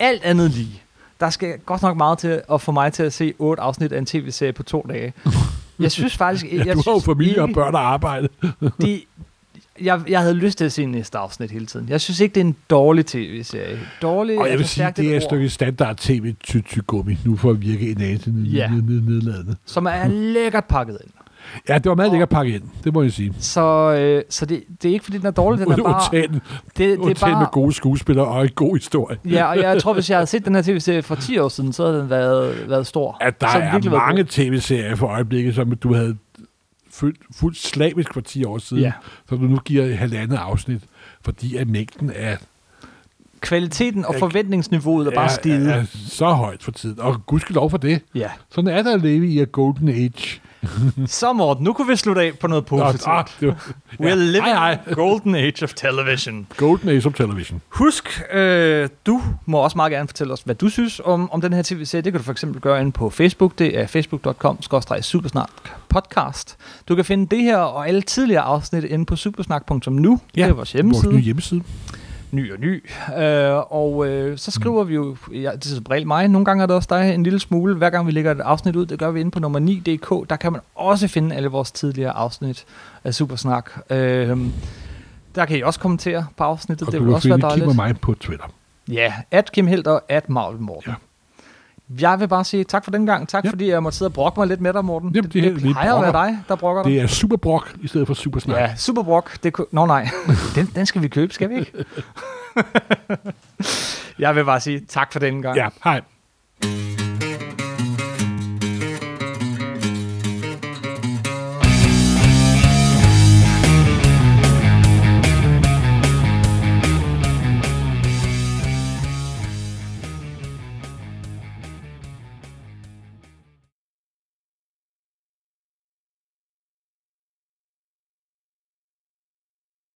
[SPEAKER 1] Alt andet lige. Der skal godt nok meget til at få mig til at se otte afsnit af en tv-serie på to dage. Jeg synes faktisk...
[SPEAKER 2] Ja,
[SPEAKER 1] jeg
[SPEAKER 2] du har jo
[SPEAKER 1] synes
[SPEAKER 2] familie og
[SPEAKER 1] ikke-
[SPEAKER 2] børn og arbejde.
[SPEAKER 1] det, jeg, jeg havde lyst til at se næste afsnit hele tiden. Jeg synes ikke, det er en dårlig tv-serie. Dårlig
[SPEAKER 2] Og
[SPEAKER 1] er
[SPEAKER 2] jeg vil
[SPEAKER 1] for
[SPEAKER 2] sige,
[SPEAKER 1] stærkt
[SPEAKER 2] det er et
[SPEAKER 1] ord,
[SPEAKER 2] stykke standard tv gummi nu for at virke en anelse ned-
[SPEAKER 1] Ja.
[SPEAKER 2] ned- ned- nedladende.
[SPEAKER 1] Som er lækkert pakket ind.
[SPEAKER 2] Ja, det var meget lækkert pakket ind, det må jeg sige.
[SPEAKER 1] Så, øh, så det, det er ikke, fordi den er dårlig, den er bare...
[SPEAKER 2] Undtagen
[SPEAKER 1] Det, det er
[SPEAKER 2] undtagen med
[SPEAKER 1] bare
[SPEAKER 2] gode skuespillere og en god historie.
[SPEAKER 1] ja, og jeg tror, hvis jeg havde set den her tv-serie for 10 år siden, så havde den været, været stor.
[SPEAKER 2] At der
[SPEAKER 1] så havde den
[SPEAKER 2] er
[SPEAKER 1] virkelig været
[SPEAKER 2] mange
[SPEAKER 1] god.
[SPEAKER 2] tv-serier for øjeblikket, som du havde fuldt, fuldt slavisk for 10 år siden,
[SPEAKER 1] Ja.
[SPEAKER 2] ja. som du nu giver halvandet afsnit, fordi at mængden er,
[SPEAKER 1] Kvaliteten og
[SPEAKER 2] Jeg-
[SPEAKER 1] forventningsniveauet er bare
[SPEAKER 2] er,
[SPEAKER 1] steget.
[SPEAKER 2] er så højt for tiden. Og gudskelov for det.
[SPEAKER 1] Ja.
[SPEAKER 2] Sådan er der at leve i a golden age
[SPEAKER 1] Så Morten, nu kunne vi slutte af på noget positivt.
[SPEAKER 2] Ah, det var
[SPEAKER 1] We're living
[SPEAKER 2] Ej,
[SPEAKER 1] in golden age of television.
[SPEAKER 2] Golden Age of Television.
[SPEAKER 1] Husk, øh, du må også meget gerne fortælle os, hvad du synes om, om den her tv-serie. Det kan du for eksempel gøre inde på Facebook. Det er facebook.com-supersnak-podcast. Du kan finde det her og alle tidligere afsnit inde på supersnak.nu. Ja, det er vores hjemmeside.
[SPEAKER 2] Vores nye hjemmeside.
[SPEAKER 1] ny og ny. Øh, og øh, så
[SPEAKER 2] Mm.
[SPEAKER 1] skriver vi jo, ja, det er som regel mig, nogle gange er det også dig en lille smule, hver gang vi lægger et afsnit ud, det gør vi inde på nummer 9.dk, der kan man også finde alle vores tidligere afsnit af Supersnak. Øh, der kan I også kommentere på afsnittet,
[SPEAKER 2] Og
[SPEAKER 1] det
[SPEAKER 2] du
[SPEAKER 1] vil
[SPEAKER 2] kan
[SPEAKER 1] også være
[SPEAKER 2] finde Kim og
[SPEAKER 1] dejligt.
[SPEAKER 2] mig på Twitter.
[SPEAKER 1] Ja, at Kim Helt og at Marvel Morten.
[SPEAKER 2] Ja.
[SPEAKER 1] Jeg vil bare sige tak for den gang. Tak
[SPEAKER 2] Ja.
[SPEAKER 1] fordi jeg måtte sidde og brokke mig lidt med dig, Morten.
[SPEAKER 2] Jamen, det er helt- vi
[SPEAKER 1] plejer at være
[SPEAKER 2] brokker.
[SPEAKER 1] dig, der brokker dig.
[SPEAKER 2] Det er Super Brock i stedet for Super Snak.
[SPEAKER 1] Ja, Superbrok. Det kunne... Nå nej, den, den skal vi købe, skal vi ikke? Jeg vil bare sige tak for denne gang.
[SPEAKER 2] ja hej.